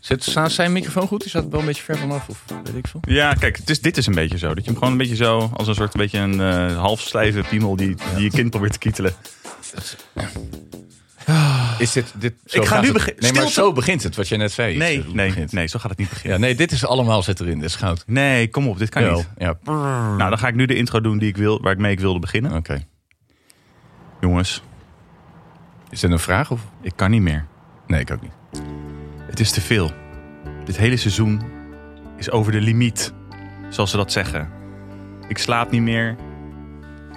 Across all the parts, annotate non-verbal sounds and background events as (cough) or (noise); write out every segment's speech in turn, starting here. Zit, staat zijn microfoon goed? Is dat wel een beetje ver vanaf? Of weet ik veel? Ja, kijk, het is, dit is een beetje zo. Dat je hem gewoon een beetje zo, als een soort een beetje een eh half stijve piemel die, die je kind probeert te kietelen. Is dit, dit zo Ik ga gaat nu het- begin- Nee, maar stilte. zo begint het, wat je net zei. Nee, Zo nee, begint. nee, zo gaat het niet Ja, beginnen. nee, dit is allemaal zit erin. Dit is goud. Nee, kom op, dit kan Jawel. niet. Ja, prr, oké. Nou, dan ga ik nu de intro doen die ik wil, waar ik mee ik wilde Mm. beginnen. Jongens, Is dit een vraag of? ik kan niet meer. Nee, ik ook niet. Het is te veel. Dit hele seizoen is over de limiet, zoals ze dat zeggen. Ik slaap niet meer.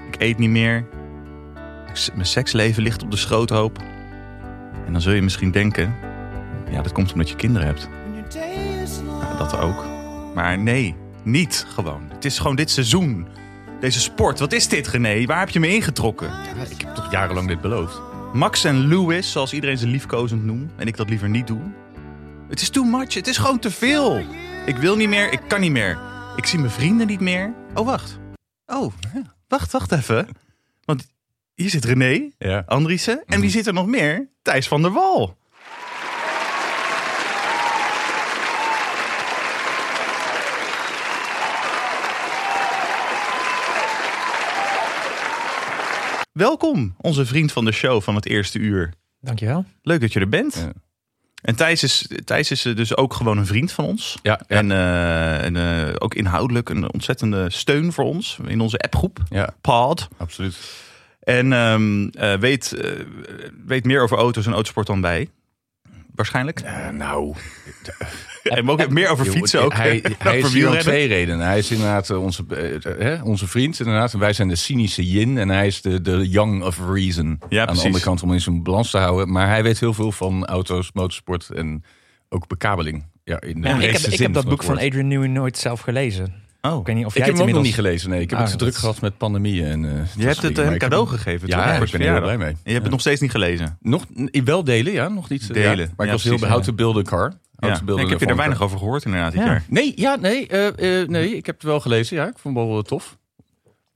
Ik eet niet meer. Ik s- Mijn seksleven ligt op de schroothoop. En dan zul je misschien denken... Ja, dat komt omdat je kinderen hebt. Ja, dat ook. Maar nee, niet gewoon. Het is gewoon dit seizoen. Deze sport, wat is dit, René? Waar heb je me ingetrokken? Ja, ik heb toch jarenlang dit beloofd. Max en Lewis, zoals iedereen ze liefkozend noemt, en ik dat liever niet doe. Het is too much, het is gewoon te veel. Ik wil niet meer, ik kan niet meer. Ik zie mijn vrienden niet meer. Oh, wacht. Oh, wacht, wacht even. Want hier zit René, Ja. Andriessen, en wie Mhm. zit er nog meer? Thijs van der Wal. Welkom, onze vriend van de show van het eerste uur. Dankjewel. Leuk dat je er bent. Ja. En Thijs is, Thijs is eh, dus ook gewoon een vriend van ons. Ja, ja, En, eh, en eh, ook inhoudelijk een ontzettende steun voor ons in onze appgroep, ja, Pod. absoluut. En ehm, eh, weet, eh, weet meer over auto's en autosport dan wij. Waarschijnlijk. Eh, nou, en ook meer over joh, fietsen ook. Hij, Dan hij (laughs) over is hier om wielrennen. twee redenen. Hij is inderdaad eh, onze, eh, hè, onze vriend. Inderdaad. En wij zijn de cynische yin. En hij is de, de yang of reason. Aan precies. de andere kant om in zijn balans te houden. Maar hij weet heel veel van auto's, motorsport en ook bekabeling. Ja, in de Ja, breedste ik heb, zin ik heb dat het boek van woord. Adrian Newey nooit zelf gelezen. Oh, Ik weet niet of Ik jij heb het hem ook nog inmiddels... niet gelezen. Nee, ik heb Ah, het te druk dat- gehad met pandemieën. En, eh, dat soort je hebt dingen. het Maar eh, een ik heb cadeau hem- gegeven. Ja, toen hij ik was ben er heel verjaardag. blij mee. En je hebt Ja. het nog steeds niet gelezen. Nog in- wel delen, ja, nog niet. eh, Delen. ja. Maar Ja, ik was precies, heel behoud ja. te beelden, car. Ja. Nee, ik heb je er weinig over gehoord inderdaad dit Ja. jaar. Nee, ja, nee, eh, eh, nee, ik heb het wel gelezen. Ja, ik vond het wel eh, tof. En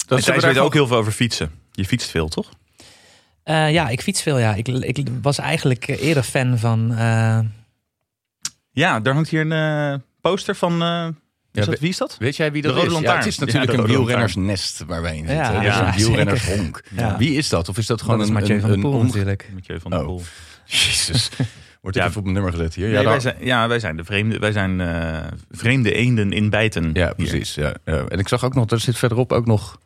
Dat Thijs weet ook heel veel over fietsen. Je fietst veel, toch? Eh, ja, ik fiets veel, ja. Ik, ik was eigenlijk eerder fan van... eh, Ja, daar hangt hier een eh, poster van... eh, is Ja, dat, we- wie is dat? Weet jij wie dat De Rode is? Ja, Lantaarn. het is Ja, natuurlijk de een Rode wielrennersnest waar wij in zitten. Ja, dus ja, (laughs) een wielrennershonk. Ja. Wie is dat? Of is dat gewoon dat is een, Mathieu een, van der een Poel onge- natuurlijk. Mathieu van der Oh. Poel. (laughs) Jezus. Wordt Ja. even op mijn nummer gezet hier. Ja, Nee, wij daar- zijn, ja, wij zijn de vreemde, wij zijn, eh, vreemde eenden in bijten. Ja, hier. precies. Ja, ja. En ik zag ook nog, er zit verderop ook nog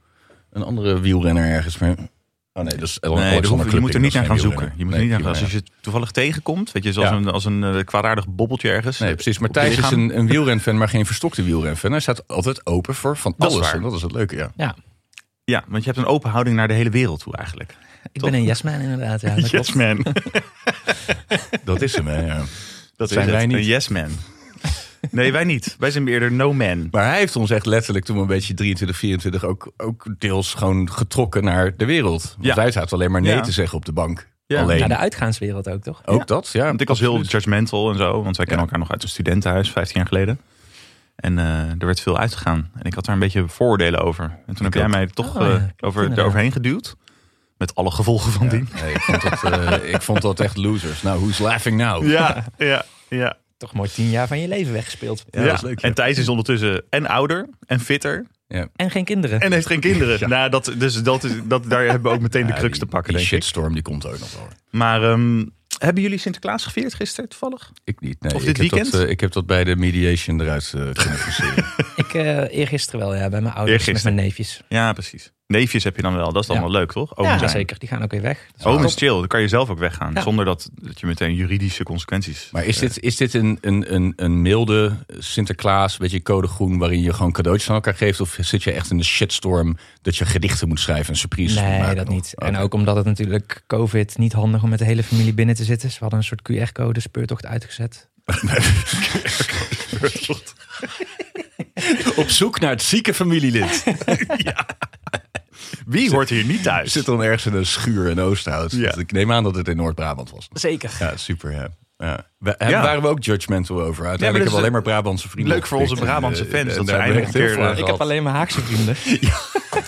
een andere wielrenner ergens. Maar... Oh nee, dat is Nee, daar hoef- je moet er niet naar gaan zoeken. Je moet er niet naar gaan, als zoeken. je het toevallig tegenkomt, weet je, zoals Ja. een, als een eh, kwaadaardig bobbeltje ergens. Nee, precies. Maar op je Thijs is lichaam. een, een wielrenfan, maar geen verstokte wielrenfan. Hij staat altijd open voor van Dat is alles. waar. En dat is het leuke, ja. Ja, Ja, want je hebt een open houding naar de hele wereld toe eigenlijk. ik Toch? ben een yes-man inderdaad. Ja, (laughs) (laughs) dat klopt. man. Dat is hem, hè. Ja. Dat is het. Een Een yes man. Nee, wij niet. Wij zijn eerder no man. Maar hij heeft ons echt letterlijk toen we een beetje 23, 24 ook, ook deels gewoon getrokken naar de wereld. Want Ja. hij zat alleen maar nee Ja. te zeggen op de bank. Ja. Alleen. Naar de uitgaanswereld ook, toch? Ook Ja. dat, ja. Want ik was heel absoluut. judgmental en zo, want wij kennen Ja. elkaar nog uit een studentenhuis 15 jaar geleden. En eh, er werd veel uitgegaan. En ik had daar een beetje vooroordelen over. En toen heb jij ook. mij toch Oh, ja, eh, klopt over, inderdaad. eroverheen geduwd. Met alle gevolgen van die. Nee, ik, vond dat, eh, ik vond dat echt losers. Nou, who's laughing now? (laughs) Ja, ja, ja. Toch mooi tien jaar van je leven weggespeeld. Ja, dat is leuk, ja. En Thijs is ondertussen en ouder en fitter En geen kinderen. en heeft geen (laughs) kinderen. Nou, dat, dus dat is, dat, daar hebben we ook meteen de Ja, crux die- te pakken, Die denk ik. shitstorm die komt ook nog wel. Maar ehm, hebben jullie Sinterklaas gevierd gisteren toevallig? Ik niet. Nee, Of ik dit heb weekend? Dat, eh, ik heb dat bij de mediation eruit (laughs) eh kunnen forceren. Ik eh eergisteren wel, ja, bij mijn ouders met Eergisteren. mijn neefjes. Ja, precies. Neefjes heb je dan wel. Dat is dan Ja. wel leuk, Oh, toch? Oom ja, zijn. zeker. Die gaan ook weer weg. Dat is wel Oom is top. chill. Dan kan je zelf ook weggaan. Ja. Zonder dat, dat je meteen juridische consequenties... eh, Maar is dit, is dit een, een, een, een milde Sinterklaas, weet je, code groen, waarin je gewoon cadeautjes aan elkaar geeft? Of zit je echt in de shitstorm dat je gedichten moet schrijven en surprises moet Nee, maken dat nog? Ah, niet. Oké. En ook omdat het natuurlijk COVID niet handig om met de hele familie binnen te zitten. Ze hadden een soort QR-code speurtocht uitgezet. (laughs) Op zoek naar het zieke familielid. Wie hoort hier niet Je thuis? zit dan ergens in een schuur in Oosthout. Ja. Dus ik neem aan dat het in Noord-Brabant was. Zeker. Ja, super. Ja. Ja. We, daar Ja. waren we ook judgmental over. Uiteindelijk dat is hebben we alleen een- maar Brabantse vrienden. leuk voor onze opgepikt. Brabantse En, fans, eh, dat en ze daar hebben we eindelijk echt een heel keer, veel Ik heb aan gehad. alleen maar Haagse vrienden.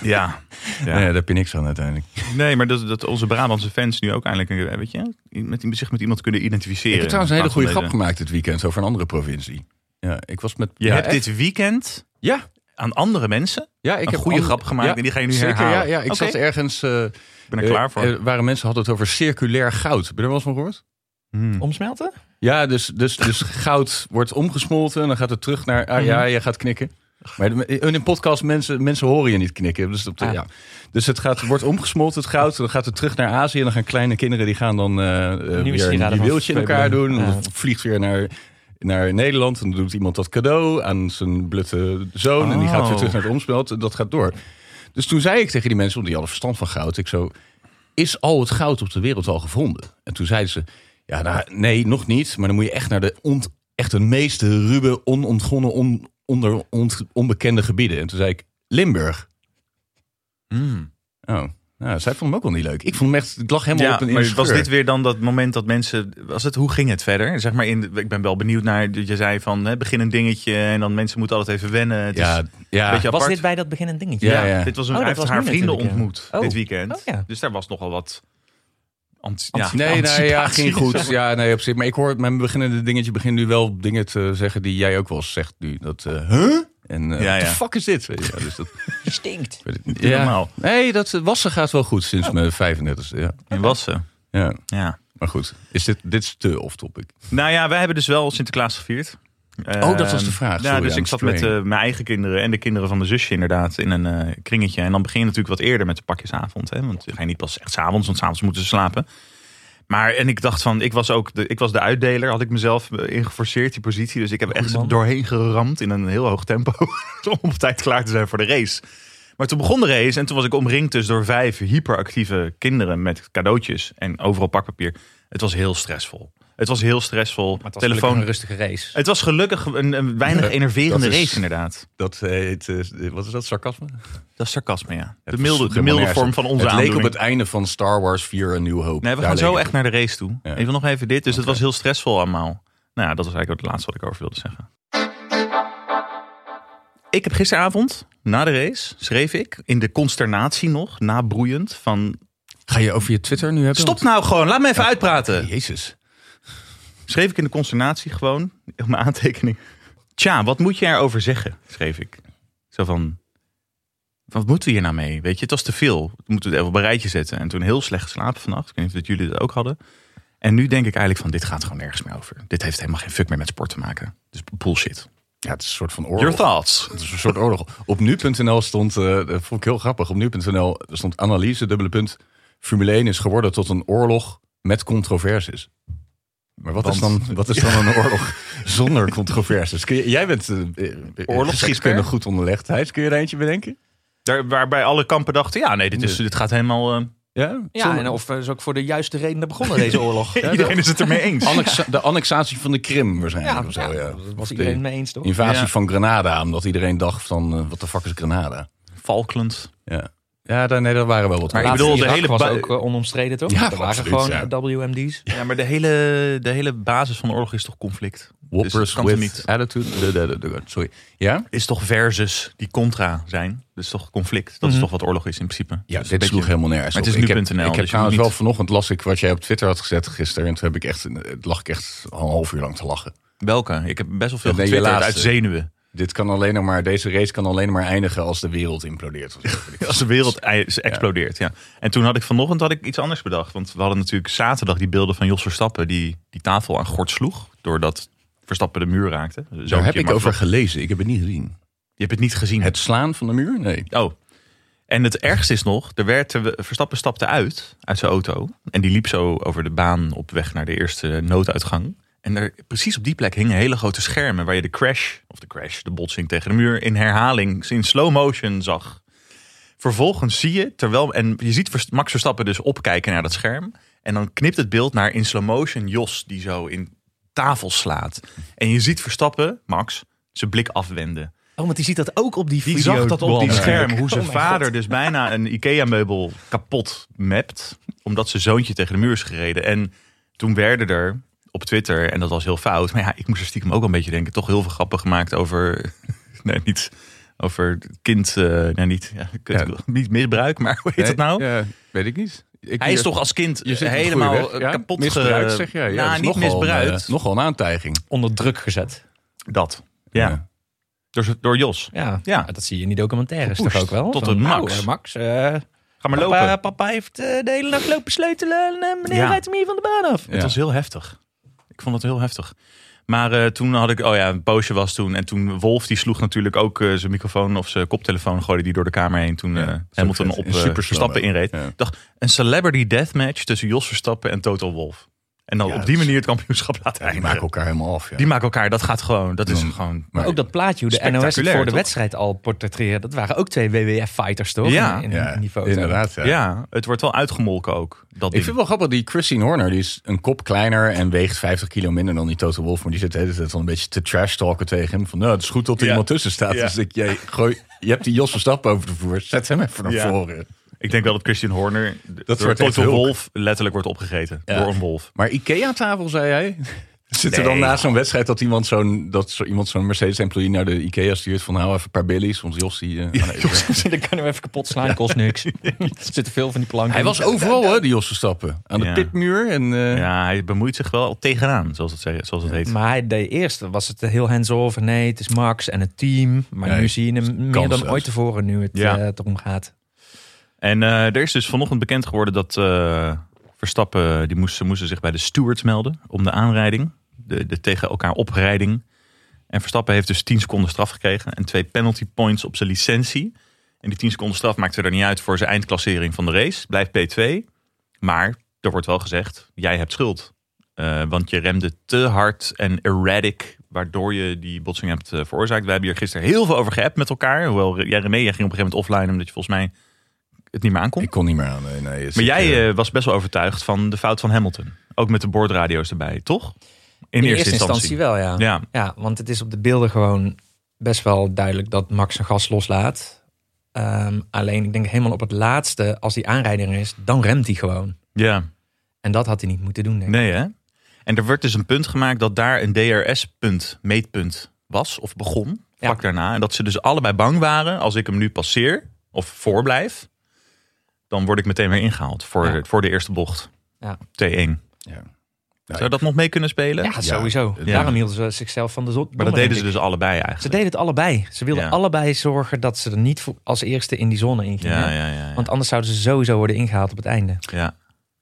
Ja. ja. Nee, daar heb je niks aan uiteindelijk. Nee, maar dat, dat onze Brabantse fans nu ook eindelijk een- weet je, met, zich met iemand kunnen identificeren. Ik heb trouwens een hele In plaats goede van grap deze- gemaakt dit weekend over een andere provincie. Ja, ik was met. Je ja, hebt echt? dit weekend Ja, aan andere mensen ja, ik een heb goede ander- grap gemaakt Ja, en die ga je nu zeker, herhalen. Ja, ja, ik Oké, zat ergens. eh, ik ben er klaar eh, voor. Er waren mensen hadden het over circulair goud. Ben je er wel eens van gehoord? Hmm. Omsmelten? Ja, dus, dus, dus goud wordt omgesmolten en dan gaat het terug naar. Ah, Mhm. ja, je gaat knikken. Maar de- in een podcast, mensen, mensen horen je niet knikken. Dus, op de- Ah. ja. dus het gaat, wordt omgesmolten, het goud. Dan gaat het terug naar Azië. En dan gaan kleine kinderen die gaan dan eh, eh, weer sieraden een van juweeltje in elkaar Fabio. doen. En Ja. dan vliegt weer naar, naar Nederland. En dan doet iemand dat cadeau aan zijn blutte zoon. En die gaat weer Oh. terug naar het omsmelten. Dat gaat door. Dus toen zei ik tegen die mensen, want die hadden verstand van goud. Ik zo, is al het goud op de wereld al gevonden? En toen zeiden ze, ja, nou, nee, nog niet. Maar dan moet je echt naar de, ont, echt de meeste ruwe, onontgonnen, on, onder, ont- onbekende gebieden. En toen zei ik, Limburg. Hmm. Oh, nou, zij vond hem ook wel niet leuk. Ik vond hem echt, ik lag helemaal Ja, op een in de maar was scheur. dit weer dan dat moment dat mensen, was het, hoe ging het verder? Zeg maar in, ik ben wel benieuwd naar, je zei van hè, begin een dingetje en dan mensen moeten altijd even wennen. Het is- Ja, ja. Beetje Was apart. dit bij dat beginnend dingetje? Ja, ja. Dit was Oh, een, hij dat heeft was haar nu vrienden natuurlijk, ja. ontmoet Oh. dit weekend. Oh, ja. Dus daar was nogal wat... ant- ja, Ant- Nee, nee, ja, anticipatie. ging goed. Ja, nee, op zich. Maar ik hoor mijn beginnende dingetje begint nu wel dingen te zeggen die jij ook wel eens zegt nu. Dat, eh, huh? En eh, Ja, what the ja. fuck is dit? Weet je, Ja, dus dat, Stinkt. weet ik (laughs) niet. Niet normaal. Nee, dat eh, wassen gaat wel goed sinds mijn 35e. Ja. In Wassen, ja, ja. maar goed. Is dit, dit is te off-topic. Nou ja, wij hebben dus wel Sinterklaas gevierd. Oh, dat was de vraag. ja, Sorry, dus I'm ik zat met straying. eh, mijn eigen kinderen en de kinderen van mijn zusje inderdaad in een eh, kringetje. En dan begin je natuurlijk wat eerder met de pakjesavond. Hè? Want je ga je niet pas echt s'avonds, want s'avonds moeten ze slapen. Maar en ik dacht van, ik was ook de, ik was de uitdeler, had ik mezelf eh, ingeforceerd die positie. Dus ik heb echt man. doorheen geramd in een heel hoog tempo. (laughs) om op tijd klaar te zijn voor de race. Maar toen begon de race en toen was ik omringd dus door vijf hyperactieve kinderen met cadeautjes en overal pakpapier. Het was heel stressvol. Het was heel stressvol. Telefoon. Een rustige race. Het was gelukkig een, een weinig enerverende dat is- race inderdaad. Dat heet, eh, wat is dat, sarcasme? Dat is sarcasme, ja. De Het milde, is de milde helemaal vorm nergens van op. Het onze leek op aandoening. het einde van Star Wars 4 Een Nieuw Hoop. Nee, we Daar gaan zo leek echt het naar de race toe. Ja. Even nog even dit. Dus het was heel stressvol allemaal. Nou ja, dat was eigenlijk ook het laatste wat ik over wilde zeggen. Ik heb gisteravond, na de race, schreef ik, in de consternatie nog, nabroeiend, van... op. Ga je over je Twitter nu hebben? Stop nou gewoon, laat me even uitpraten. Jezus. Schreef ik in de consternatie gewoon, op mijn aantekening. Tja, wat moet je erover zeggen, schreef ik. Zo van, wat moeten we hier nou mee? Weet je, het was te veel. We moeten het even op een rijtje zetten. En toen heel slecht geslapen vannacht. Ik weet niet of dat jullie dat ook hadden. En nu denk ik eigenlijk van, dit gaat gewoon nergens meer over. Dit heeft helemaal geen fuck meer met sport te maken. Dus bullshit. Ja, het is een soort van Your oorlog. thoughts. Het is een soort oorlog. Op nu.nl stond, eh, dat vond ik heel grappig, op nu.nl stond analyse, dubbele punt. Formule 1 is geworden tot een oorlog met controversies. Maar wat, is Want- dan, wat is dan een oorlog (laughs) zonder controversies? Kun je, jij bent eh, eh, eh, Oorlogsgidskunde. goed onderlegd. Hij kun je er eentje bedenken? Daar, waarbij alle kampen dachten, ja nee, dit, is, dit gaat helemaal... eh, Ja, Ja, Zonder- en of eh, is ook voor de juiste redenen begonnen deze oorlog. (laughs) Ja, iedereen is het ermee (laughs) eens. Annexa- de annexatie van de Krim waarschijnlijk. of zo, ja. dat was De iedereen mee eens, toch? Invasie Ja. van Granada, omdat iedereen dacht van, wat de fuck is Granada? Falkland. Ja, ja daar, nee, daar waren wel wat. Maar ik over. Laatste bedoel, de Irak hele was ba- ook eh, onomstreden, toch? Ja, Er waren absoluut, gewoon ja. eh, WMD's. Ja, maar de hele, de hele basis van de oorlog is toch conflict? Whoppers Dus het kan toch with niet? attitude. De, de, de, de- sorry. Ja? is toch versus die contra zijn. Dus toch conflict. Dat is toch wat oorlog is in principe. Mhm. Ja, Dus dit een sloeg helemaal nergens Maar het op. is Ik heb- nu.nl, Ik heb dus je trouwens moet wel niet- vanochtend las ik wat jij op Twitter had gezet gisteren. En toen heb ik echt, het lag ik echt al een half uur lang te lachen. Welke? Ik heb best wel veel Ja, nee, je getwitterd uit laatste. (laughs) zenuwen. Dit kan alleen nog maar, deze race kan alleen maar eindigen als de wereld implodeert. (laughs) of zo, weet ik veel. Als de wereld ei- explodeert, ja. En toen had ik vanochtend had ik iets anders bedacht. Want we hadden natuurlijk zaterdag die beelden van Jos Verstappen... die die tafel aan gort sloeg, doordat Verstappen de muur raakte. Zo Daar heb ik over gelezen. Ik heb het niet gezien. Je hebt het niet gezien. Het slaan van de muur? Nee. Oh. En het ergste is nog, er werd, er- Verstappen stapte uit, uit zijn auto. En die liep zo over de baan op weg naar de eerste nooduitgang. En er, precies op die plek hingen hele grote schermen waar je de crash, of de crash, de botsing tegen de muur, in herhaling, in slow motion zag. Vervolgens zie je, terwijl, en je ziet Vers- Max Verstappen dus opkijken naar dat scherm. En dan knipt het beeld naar in slow motion Jos, die zo in tafel slaat. En je ziet Verstappen, Max, zijn blik afwenden. Oh, want die ziet dat ook op die Die video. zag dat op die Ja. scherm, hoe zijn Oh mijn vader dus bijna een IKEA-meubel kapot mept. Omdat zijn zoontje tegen de muur is gereden. En toen werden er op Twitter. En dat was heel fout. Maar ja, ik moest er stiekem ook wel een beetje denken. Toch heel veel grappen gemaakt over... (laughs) nee, niet over kind... eh, nou, niet, ja, kut, Ja. ik wil- niet misbruik, maar hoe heet Nee, dat nou? ja, weet ik niet. Ik- Hij is je- toch als kind je zit op de goede helemaal eh, weg, ja? kapot misbruikt, ge- zeg jij. Ja, Nou, dat is niet nogal een, misbruikt. eh, nogal een aantijging. Onder druk gezet. Dat. Ja. Door, door Jos. Ja. Ja. Maar Dat zie je in die documentaires Gepusht toch ook wel. tot Van, een nou, max. eh, Max, eh, Ga maar papa, lopen. papa heeft eh, de hele nacht lopen sleutelen en eh, meneer Ja. rijdt hem hier van de baan af. Ja. Het was heel heftig. Ik vond het heel heftig. Maar eh, toen had ik, oh ja, een poosje was toen. En toen Wolf, die sloeg natuurlijk ook eh, zijn microfoon of zijn koptelefoon, gooide die door de kamer heen. Toen Ja, eh zo Hamilton vet. op En eh, supersnel stappen ook. inreed. Ja. Ik dacht, een celebrity deathmatch tussen Jos Verstappen en Toto Wolf. En dan Ja, op die dat is- manier het kampioenschap laten Ja, die eindigen. maken elkaar helemaal af. Ja. Die maken elkaar, dat gaat gewoon, dat is Ja. gewoon... Maar- Ook dat plaatje, hoe de NOS het voor de Spectaculair, toch? wedstrijd al portretteerde. Dat waren ook twee WWF-fighters, toch? Ja. in, in, ja, in die foto. (laughs) Inderdaad, ja. Ja. het wordt wel uitgemolken ook, dat Ik ding. vind het wel grappig, die Christine Horner, die is een kop kleiner en weegt 50 kilo minder dan die Total Wolf. Maar die zit de hele tijd wel een beetje te trash talken tegen hem. Van, nou, het is goed dat er Ja. iemand tussen staat. Ja. Dus ik, jij, gooi, je hebt die Jos Verstappen over de voer. Zet hem even naar Ja. voren. Ik denk wel dat Christian Horner dat door wordt echt Toto hulk. Wolf letterlijk wordt opgegeten. Ja. Door een wolf. Maar Ikea-tafel, zei hij. Zit er Nee. dan na zo'n wedstrijd dat iemand zo'n dat zo iemand zo'n Mercedes-employee naar de Ikea stuurt van hou even een paar billies, want Jos die... eh, ah, nee, (laughs) Dan kan hem even kapot slaan, kost (laughs) niks. er zitten veel van die planken. Hij in. was overal, hè, die Jos Verstappen. Aan de Ja. tipmuur en... eh, Ja, hij bemoeit zich wel tegenaan, zoals het, ze- zoals het heet. Maar hij deed eerst, was het heel hands-off. en Nee, het is Max en het team. Maar Nee, nu zie je hem meer kansloos. dan ooit tevoren, nu het Ja. eh, het erom gaat. En eh, er is dus vanochtend bekend geworden dat eh, Verstappen, eh, die moesten, moesten zich bij de stewards melden om de aanrijding, de, de tegen elkaar oprijding. En Verstappen heeft dus 10 seconden straf gekregen en twee penalty points op zijn licentie. En die 10 seconden straf maakte er niet uit voor zijn eindklassering van de race. Blijft P2. Maar er wordt wel gezegd, jij hebt schuld. Eh, want je remde te hard en erratic, waardoor je die botsing hebt eh, veroorzaakt. We hebben hier gisteren heel veel over geappt met elkaar. Hoewel, eh, jij René, jij ging op een gegeven moment offline, omdat je volgens mij het niet meer aankomt. Ik kon niet meer aan. Nee, nee, dus Maar ik, jij eh, eh, was best wel overtuigd van de fout van Hamilton. Ook met de boordradio's erbij, toch? In, wel, ja. ja. Ja, want het is op de beelden gewoon best wel duidelijk dat Max zijn gas loslaat. Ehm, alleen, ik denk helemaal op het laatste, als die aanrijding er is, dan remt hij gewoon. ja. En dat had hij niet moeten doen, denk ik. Nee, hè? En er werd dus een punt gemaakt dat daar een DRS-punt, meetpunt was of begon, vlak Ja. daarna. En dat ze dus allebei bang waren, als ik hem nu passeer of voorblijf, dan word ik meteen weer ingehaald voor, Ja. de, voor de eerste bocht. Ja. T1. ja. Zou dat nog mee kunnen spelen? Ja, sowieso. Ja. Daarom hielden ze zichzelf van de zon. maar dat deden ze dus allebei eigenlijk. Ze deden het allebei. Ze wilden Ja. allebei zorgen dat ze er niet voor- als eerste in die zone in gingen. Ja, ja, ja. ja. Want anders zouden ze sowieso worden ingehaald op het einde. ja.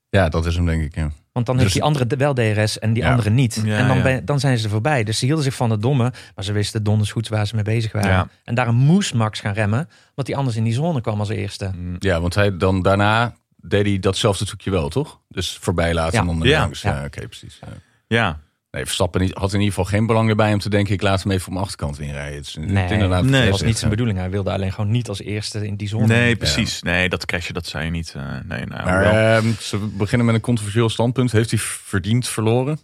ja, dat is hem denk ik. Ja. Want dan heeft die andere de- wel DRS en die Ja. andere niet. Dus- Ja, en dan, ja. ben- dan zijn ze er voorbij. Dus ze hielden zich van het domme. Maar ze wisten donders goed waar ze mee bezig waren. Ja. En daarom moest Max gaan remmen. Want die anders in die zone kwam als eerste. Mm, Ja, want hij dan daarna deed hij datzelfde trucje wel, toch? Dus voorbij laten Ja. en dan Ja. langs. Ja, Ja. oké, precies. Ja. ja. Nee, Verstappen niet- had in ieder geval geen belang erbij om te denken... ik laat hem even op mijn achterkant inrijden. Het is Nee, inderdaad nee, Dat dat was niet zijn ja. bedoeling. Hij wilde alleen gewoon niet als eerste in die zone. Nee, precies. Nee, dat crashen, dat zei je niet. eh, nee, nou, Maar wel. ehm, ze beginnen met een controversieel standpunt. Heeft hij verdiend verloren?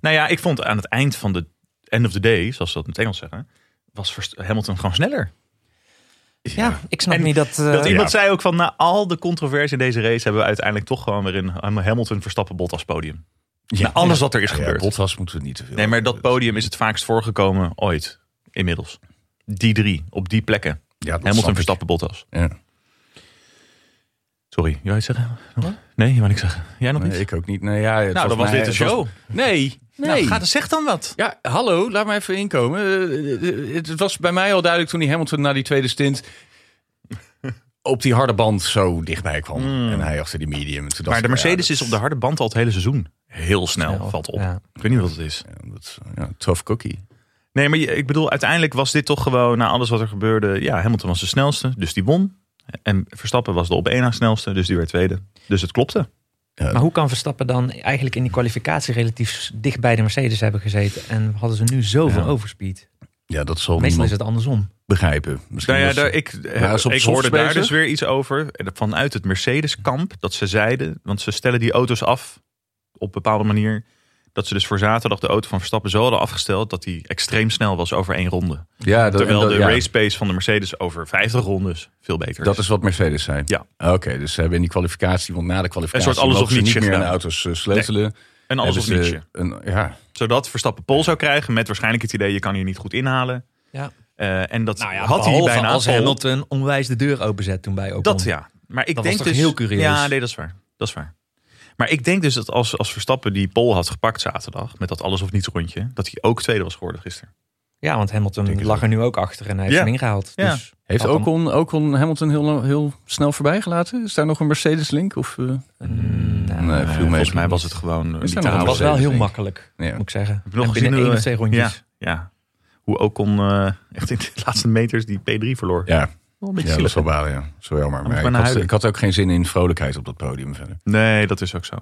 Nou ja, ik vond aan het eind van de end of the day, zoals ze dat in het Engels zeggen, was Verst- Hamilton gewoon sneller. Ja, ik snap En niet dat... eh, dat iemand zei ook van, na al de controverse in deze race hebben we uiteindelijk toch gewoon weer in Hamilton verstappen Bottas podium. Ja. Na alles wat er is Ja, gebeurd. Bottas moeten we niet te veel. nee, maar dat podium is het vaakst voorgekomen ooit, inmiddels. Die drie, op die plekken. Ja, dat snap Hamilton ik. verstappen Bottas. Ja. Sorry, jij wou iets zeggen? Nee, je wou niks zeggen. Jij nog Nee, niet? ik ook niet. Nee, ja, het nou, dan was mij- dit de het show. was- Nee, nee. Nou, ga, zeg dan wat. Ja, hallo, laat me even inkomen. Eh, eh, Het was bij mij al duidelijk toen die Hamilton na die tweede stint op die harde band zo dichtbij kwam. En hij achter die medium. En Toen dacht Hmm. Maar de ik, Mercedes ja, is op de harde band al het hele seizoen. Heel snel, Snel, Nou, valt op. ja. Ik weet niet wat het is. dat- dat- ja, tough cookie. Nee, maar je- ik bedoel, uiteindelijk was dit toch gewoon na alles wat er gebeurde. Ja, Hamilton was de snelste, dus die won. En Verstappen was de op één na snelste, dus die werd tweede. Dus het klopte. Maar hoe kan Verstappen dan eigenlijk in die kwalificatie relatief dicht bij de Mercedes hebben gezeten? En hadden ze nu zoveel Ja. overspeed? Ja, dat zal Meestal niemand is het andersom. begrijpen. Misschien Nou ja, was- daar, ik, hij is op ik soft hoorde daar bezig. dus weer iets over eh, vanuit het Mercedes-kamp. Dat ze zeiden, want ze stellen die auto's af op bepaalde manier. Dat ze dus voor zaterdag de auto van Verstappen zo hadden afgesteld dat die extreem snel was over één ronde. ja, dat, Terwijl dat- de ja, race pace van de Mercedes over 50 rondes veel beter is. dat is wat Mercedes zei. Ja. Oké, dus ze hebben in die kwalificatie, want na de kwalificatie Een soort alles mogen of ze niets niet meer aan de gedaan. auto's eh, sleutelen. Een alles of hebben ze nietsje. een, ja, Zodat Verstappen Pol zou krijgen met waarschijnlijk het idee... je kan hier niet goed inhalen. Ja. Eh, en dat Nou ja, had hij behalve bijna als Pole. Hamilton onwijs de deur openzet toen bij Ocon. Dat ja. Maar ik Dat was denk toch dus, heel curieus? Ja, nee, dat is waar. Dat is waar. Maar ik denk dus dat als, als Verstappen die pol had gepakt zaterdag... met dat alles of niets rondje... dat hij ook tweede was geworden gisteren. Ja, want Denk Hamilton het lag er nu ook achter en hij heeft Ja. hem ingehaald. Ja. Dus heeft had hem- Ocon, Ocon Hamilton heel, lang- heel snel voorbij gelaten? Is daar nog een Mercedes-link? Of, eh? nou, nee, Eh, viel mee. volgens mij was het gewoon... eh, Is niet er te nog een het houden. was wel Mercedes, heel denk ik. makkelijk, Ja. moet ik zeggen. Heb je nog En binnen gezien één hoe- of twee rondjes. eh, Ja. Hoe Ocon eh (laughs) echt in de laatste meters die P3 verloor. ja, Wel een beetje ja, dat is zielig, wel hè? balen, ja. Zo jammer. moet Maar maar ik, naar had, huilen. ik had ook geen zin in vrolijkheid op dat podium verder. Nee, dat is ook zo.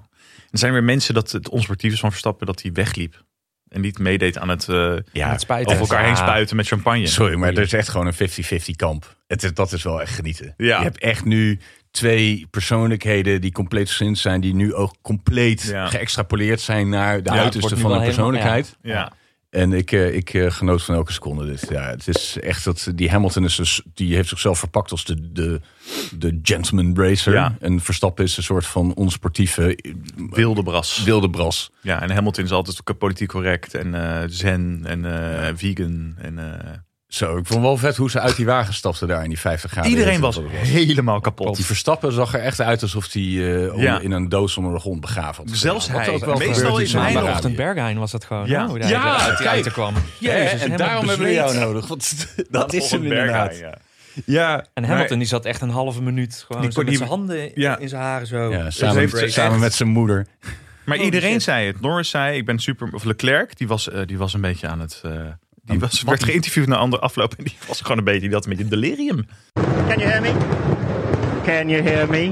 Er zijn weer mensen dat het onsportief is van Verstappen... dat hij wegliep. En niet meedeed aan het... eh, Met spijt. over elkaar Ja. heen spuiten met champagne. Sorry, maar er is echt gewoon een 50-50 kamp. Het is, dat is wel echt genieten. Ja. Je hebt echt nu twee persoonlijkheden die compleet verschillend zijn, die nu ook compleet Ja. geëxtrapoleerd zijn naar de Ja, het uiterste wordt nu van wel een helemaal- persoonlijkheid. Ja. En ik, eh, ik eh, genoot van elke seconde. Dus ja, het is echt dat die Hamilton is dus, die heeft zichzelf verpakt als de, de, de gentleman racer. Ja. En Verstappen is een soort van onsportieve eh, Wilde bras. wilde bras. Ja, en Hamilton is altijd ook politiek correct en eh, zen en eh, vegan. En, eh, Zo, ik vond wel vet hoe ze uit die wagen stapte daar in die 50 graden. iedereen was hitte. helemaal kapot. Die Verstappen zag er echt uit alsof hij eh, Ja. in een doos onder de grond begraven had. Zelfs gedaan. Wat hij. ook wel Meestal gebeurt is in zo'n hij nog Ferrari. Vanochtend Bergheim was dat gewoon. Ja. hè, hoe hij Ja, eruit- kijk. uit kwam. Ja, Jezus, en helemaal daarom hebben we bezweet. jou nodig. Want (laughs) dat, (laughs) is hem Volgend inderdaad. Berghain, Ja, En Hamilton die zat echt een halve minuut gewoon Die zo kon- met die- zijn handen Ja. in zijn haren Oh. zo. ja, Ze samen, heeft met, echt- samen met zijn moeder. Maar, maar Holy iedereen shit. zei het. Norris zei, ik ben super... Of Leclerc, die was, eh, die was een beetje aan het... eh, die was, werd geïnterviewd na andere afloop en die was gewoon een beetje... Die had een beetje delirium. Can you hear me? Can you hear me?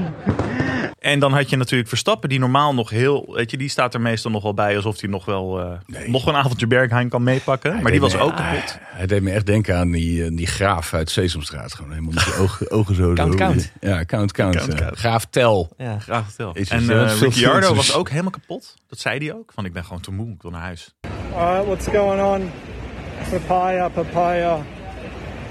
En dan had je natuurlijk Verstappen, die normaal nog heel... Weet je, die staat er meestal nog wel bij alsof hij nog wel... eh, Nog een avondje Berghain kan meepakken. maar die deed was me- ook kapot. Hij deed me echt denken aan die, eh, die graaf uit Sesamstraat. Gewoon helemaal (laughs) met die ogen, ogen zo. Count, zo. count. Ja, count, count. Count, ja. count. Graaf Tel. Ja. Graag vertel. Jezus, En ja, dat eh is veel Ricciardo filters. was ook helemaal kapot. Dat zei hij ook. Van ik ben gewoon te moe, ik wil naar huis. All right, what's going on? Papaya, papaya.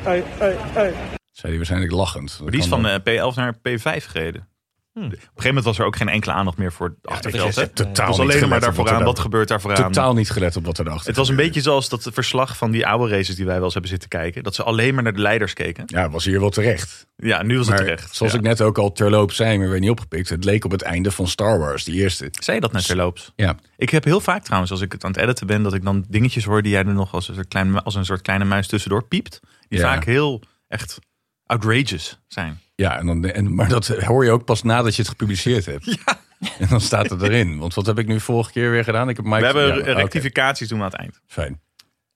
Hey, hey, hey. Zei hij waarschijnlijk lachend. Maar die is van eh, P11 naar P5 gereden. Op een gegeven moment was er ook geen enkele aandacht meer voor het achterveld. hè? Het totaal was niet alleen gelet maar daar op wat vooraan. er Wat daar- gebeurt daar vooraan? Totaal niet gelet op wat er achter Ehm, Het was een gebeurde. beetje zoals dat verslag van die oude races die wij wel eens hebben zitten kijken. Dat ze alleen maar naar de leiders keken. Ja, was hier wel terecht. Ja, nu was Maar het terecht. zoals ja. ik net ook al terloops zei, maar werd niet opgepikt. Het leek op het einde van Star Wars, die eerste. Zei je dat net terloops? Ja, Ik heb heel vaak trouwens, als ik het aan het editen ben, dat ik dan dingetjes hoor die jij er nog als een soort, klein, als een soort kleine muis tussendoor piept. Die Ja. vaak heel echt outrageous zijn. Ja, en dan, en, maar dat hoor je ook pas nadat je het gepubliceerd hebt. (laughs) En dan staat het erin. Want wat heb ik nu vorige keer weer gedaan? Ik heb Mike, We hebben ja, eh, oké, rectificaties doen we aan het eind. fijn. (laughs)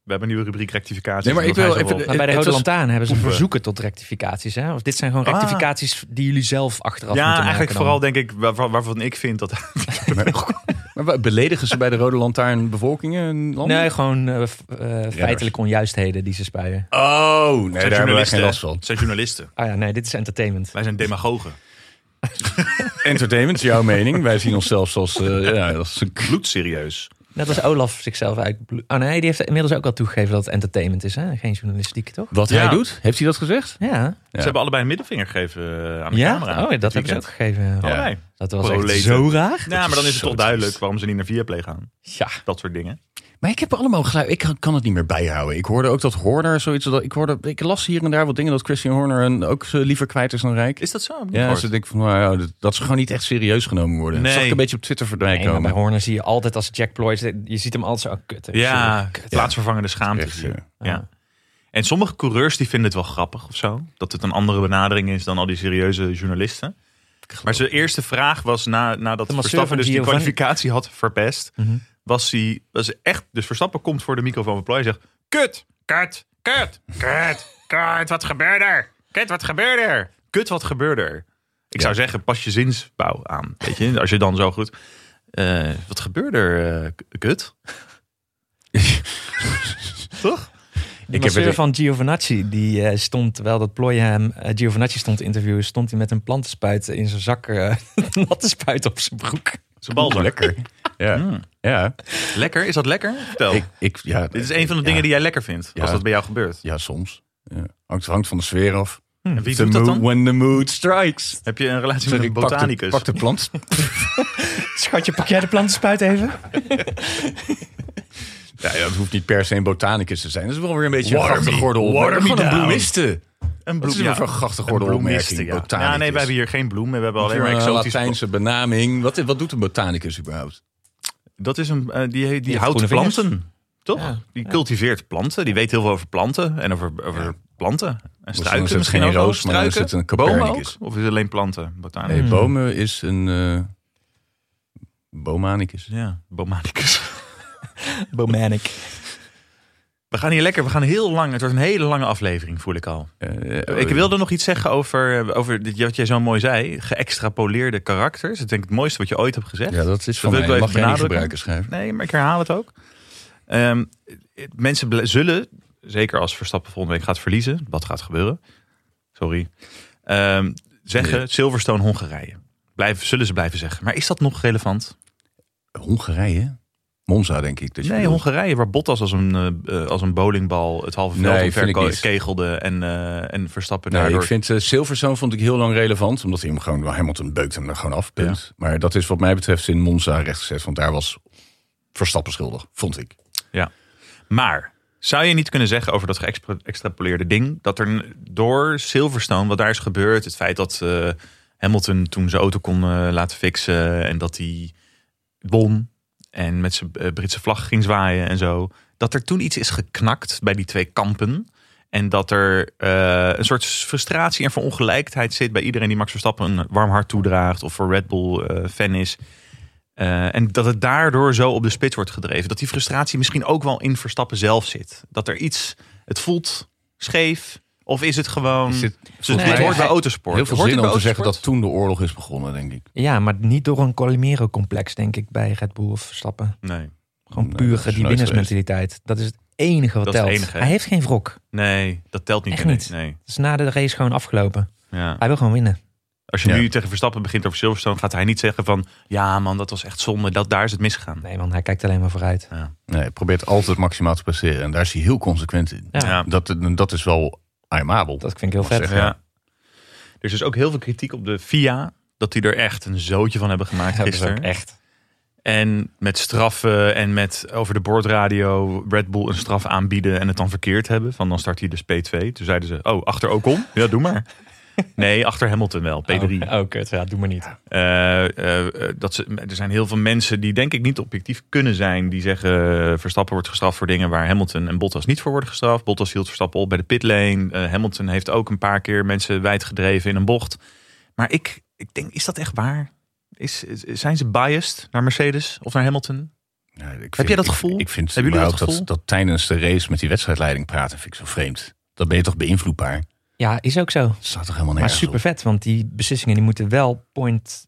We hebben een nieuwe rubriek rectificaties. Nee, maar ik omdat wil hij zo even wil- Maar bij de Het Rode was- Lantaan hebben ze Oefen. verzoeken tot rectificaties. Hè? Of dit zijn gewoon Ah. rectificaties die jullie zelf achteraf Ja, moeten maken. eigenlijk dan. vooral denk ik waarvan, waarvan ik vind (laughs) dat... Maar, maar wat- beledigen ze bij de Rode Lantaarn bevolkingen? en landen? Nee, gewoon eh, f- eh, feitelijke onjuistheden die ze spuien. Oh, nee, daar hebben wij geen last van. Zijn journalisten. Ah ja, nee, dit is entertainment. Wij zijn demagogen. Entertainment, jouw mening. Wij zien onszelf zoals... eh, (laughs) ja, als een k- Bloedserieus. Net als Olaf zichzelf uit. Oh nee, die heeft inmiddels ook al toegegeven dat het entertainment is. Hè? Geen journalistiek, toch? wat Ja. hij doet? Heeft hij dat gezegd? Ja. Ze hebben allebei een middelvinger gegeven eh, aan de ja? camera. Oh, ja, dit dat hebben ze weekend. ook gegeven. Allebei. Dat was Proleten. echt zo raar. Ja, maar dan is het zo toch duidelijk triest. waarom ze niet naar Viaplay gaan. Ja. Dat soort dingen. Maar ik heb allemaal geluid. Ik kan, kan het niet meer bijhouden. Ik hoorde ook dat Horner zoiets... Dat, ik, hoorde, ik las hier en daar wat dingen dat Christian Horner een, ook eh, liever kwijt is dan Rijk. Is dat zo? Heb ik Ja, niet als ze gehoord. denken van, nou, ja, dat ze gewoon niet echt serieus genomen worden. Nee. Dat zag ik een beetje op Twitter voorbij Nee, maar bij komen. Horner zie je altijd als Jack Ploy. Je ziet hem altijd zo. Oh, kut. ja, plaatsvervangende schaamte. Echt, ja. Ja. En sommige coureurs die vinden het wel grappig of zo. Dat het een andere benadering is dan al die serieuze journalisten. Maar zijn eerste vraag was na, nadat De masseur Verstappen van dus die Giovanni. kwalificatie had verpest. Was hij was echt... Dus Verstappen komt voor de microfoon van Ploy en zegt... Kut, kut, kut, kut, kut, wat gebeurde er? Kut, wat gebeurde er? Kut, wat gebeurde er? Ik zou zeggen, pas je zinsbouw aan. Weet je, als je dan zo goed... eh, wat gebeurde er, eh, k- kut? Toch? De Ik heb masseur het- van Giovanacci, die eh, stond, terwijl dat Ploy hem eh, Giovanacci stond te interviewen, stond hij met een plantenspuit in zijn zak, eh, (laughs) een natte spuit op zijn broek. Zijn bal (laughs) Lekker. Ja. Hmm. Ja. Lekker? Is dat lekker? Vertel. Ik, ik, ja. Oh. Dit is een van de ja. dingen die jij lekker vindt. Als Ja. dat bij jou gebeurt. Ja, soms. Ja. Hangt, hangt van de sfeer af. En wie The doet dat mood- dan? When the mood strikes. Heb je een relatie Zeg met ik, een pak de, botanicus? pak de plant. Schatje, pak jij de plantenspuit even? Ja, ja, dat hoeft niet per se een botanicus te zijn. Dat is wel weer een beetje Water een me- grachtengordel. water Dat is me gewoon een down. bloemiste. Een Dat is ja. weer een grachtengordel Een bloemiste, opmerking, ja. botanicus. Ja, nee, we hebben hier geen bloemen. We hebben alleen maar Alleen een exotische eh, Latijnse benaming. Wat, wat doet een botanicus überhaupt? Dat is een, eh, die, die, heeft houdt groene vingers. planten, toch? Ja, die cultiveert planten. Die weet heel veel over planten en over, over planten. En struiken is het misschien geen ook wel. roos, maar dan is Struiken? het een Bomen ook? Copernicus. Of is het alleen planten? Botanicus. Nee, bomen is een... eh bomanicus. Ja, bomanicus. Bomanic. We gaan hier lekker, we gaan heel lang. Het wordt een hele lange aflevering, voel ik al. Eh, eh, Ik wilde nog iets zeggen over, eh, over dit- wat jij zo mooi zei. Geëxtrapoleerde karakters. Dat denk ik het mooiste wat je ooit hebt gezegd. Ja, dat is van wil ik wel mij. even Mag jij niet gebruiken, benadrukken. schrijven? Nee, maar ik herhaal het ook. Ehm, het- mensen ble- zullen, zeker als Verstappen volgende week gaat verliezen, wat gaat gebeuren, sorry, ehm, zeggen Silverstone Hongarije. Blijven, zullen ze blijven zeggen. Maar is dat nog relevant? Hongarije? Monza, denk ik. dat je Nee, bedoelt. Hongarije, waar Bottas als een, eh, eh, als een bowlingbal het halve veld Nee, omver vind ik ko- niet. kegelde en, eh, en Verstappen Nee, daardoor... ik vind eh, Silverstone vond ik heel lang relevant. Omdat hij hem gewoon, wel, Hamilton beukt hem er gewoon af, punt. Maar dat is wat mij betreft in Monza rechtgezet. Want daar was Verstappen schuldig, vond ik. Ja. Maar zou je niet kunnen zeggen over dat geëxtrapoleerde ding dat er n- door Silverstone, wat daar is gebeurd, het feit dat eh, Hamilton toen zijn auto kon eh, laten fixen en dat hij won en met zijn eh, Britse vlag ging zwaaien en zo, dat er toen iets is geknakt bij die twee kampen. En dat er eh, een soort frustratie en verongelijkheid zit bij iedereen die Max Verstappen een warm hart toedraagt of voor Red Bull eh, fan is. Eh, en dat het daardoor zo op de spits wordt gedreven. Dat die frustratie misschien ook wel in Verstappen zelf zit. Dat er iets, het voelt scheef. Of is het gewoon, Is dit- Dus volgens dit mij- hoort bij autosport. Heel veel Hoort zin het om bij te zeggen dat autosport? toen de oorlog is begonnen, denk ik. Ja, maar niet door een Colimero-complex, denk ik, bij Red Bull of Verstappen. Nee, Gewoon Nee, puur dat is die nooit winnaarsmentaliteit. Dat is het enige wat Dat is telt. het enige, hè? Hij heeft geen wrok. nee, dat telt niet. Echt meer. niet. Nee. Het is na de race gewoon afgelopen. Ja. Hij wil gewoon winnen. Als je Ja. nu tegen Verstappen begint over Silverstone, gaat hij niet zeggen van... Ja man, dat was echt zonde, dat, daar is het misgegaan. Nee, want hij kijkt alleen maar vooruit. Nee, hij probeert altijd maximaal te presteren. En daar is hij heel consequent in. Ja. Ja. Dat, dat is wel aimabel. Dat vind ik heel vet. zeggen. Ja. Er is dus ook heel veel kritiek op de FIA. Dat die er echt een zootje van hebben gemaakt Hebben ze ook gisteren. echt. En met straffen en met over de boordradio Red Bull een straf aanbieden en het dan verkeerd hebben. Van dan start hij dus P2. Toen zeiden ze, oh, achter Ocon? Ja, doe (laughs) maar. Nee, achter Hamilton wel, P3. Oh, oh, kut. Ja, doe maar niet. Eh, eh, eh, dat ze, er zijn heel veel mensen die denk ik niet objectief kunnen zijn. Die zeggen eh, Verstappen wordt gestraft voor dingen waar Hamilton en Bottas niet voor worden gestraft. Bottas hield Verstappen op bij de pitlane. Eh, Hamilton heeft ook een paar keer mensen wijdgedreven in een bocht. Maar ik, ik denk, is dat echt waar? Is, is- zijn ze biased naar Mercedes of naar Hamilton? Ja, ik vind- Heb jij dat ik- gevoel? Ik, vind Hebben jullie dat überhaupt dat, gevoel? dat tijdens de race met die wedstrijdleiding praten, vind ik zo vreemd. Dat ben je toch beïnvloedbaar? Ja, is ook zo. Dat staat toch helemaal Maar nergens super op? vet, want die beslissingen die moeten wel point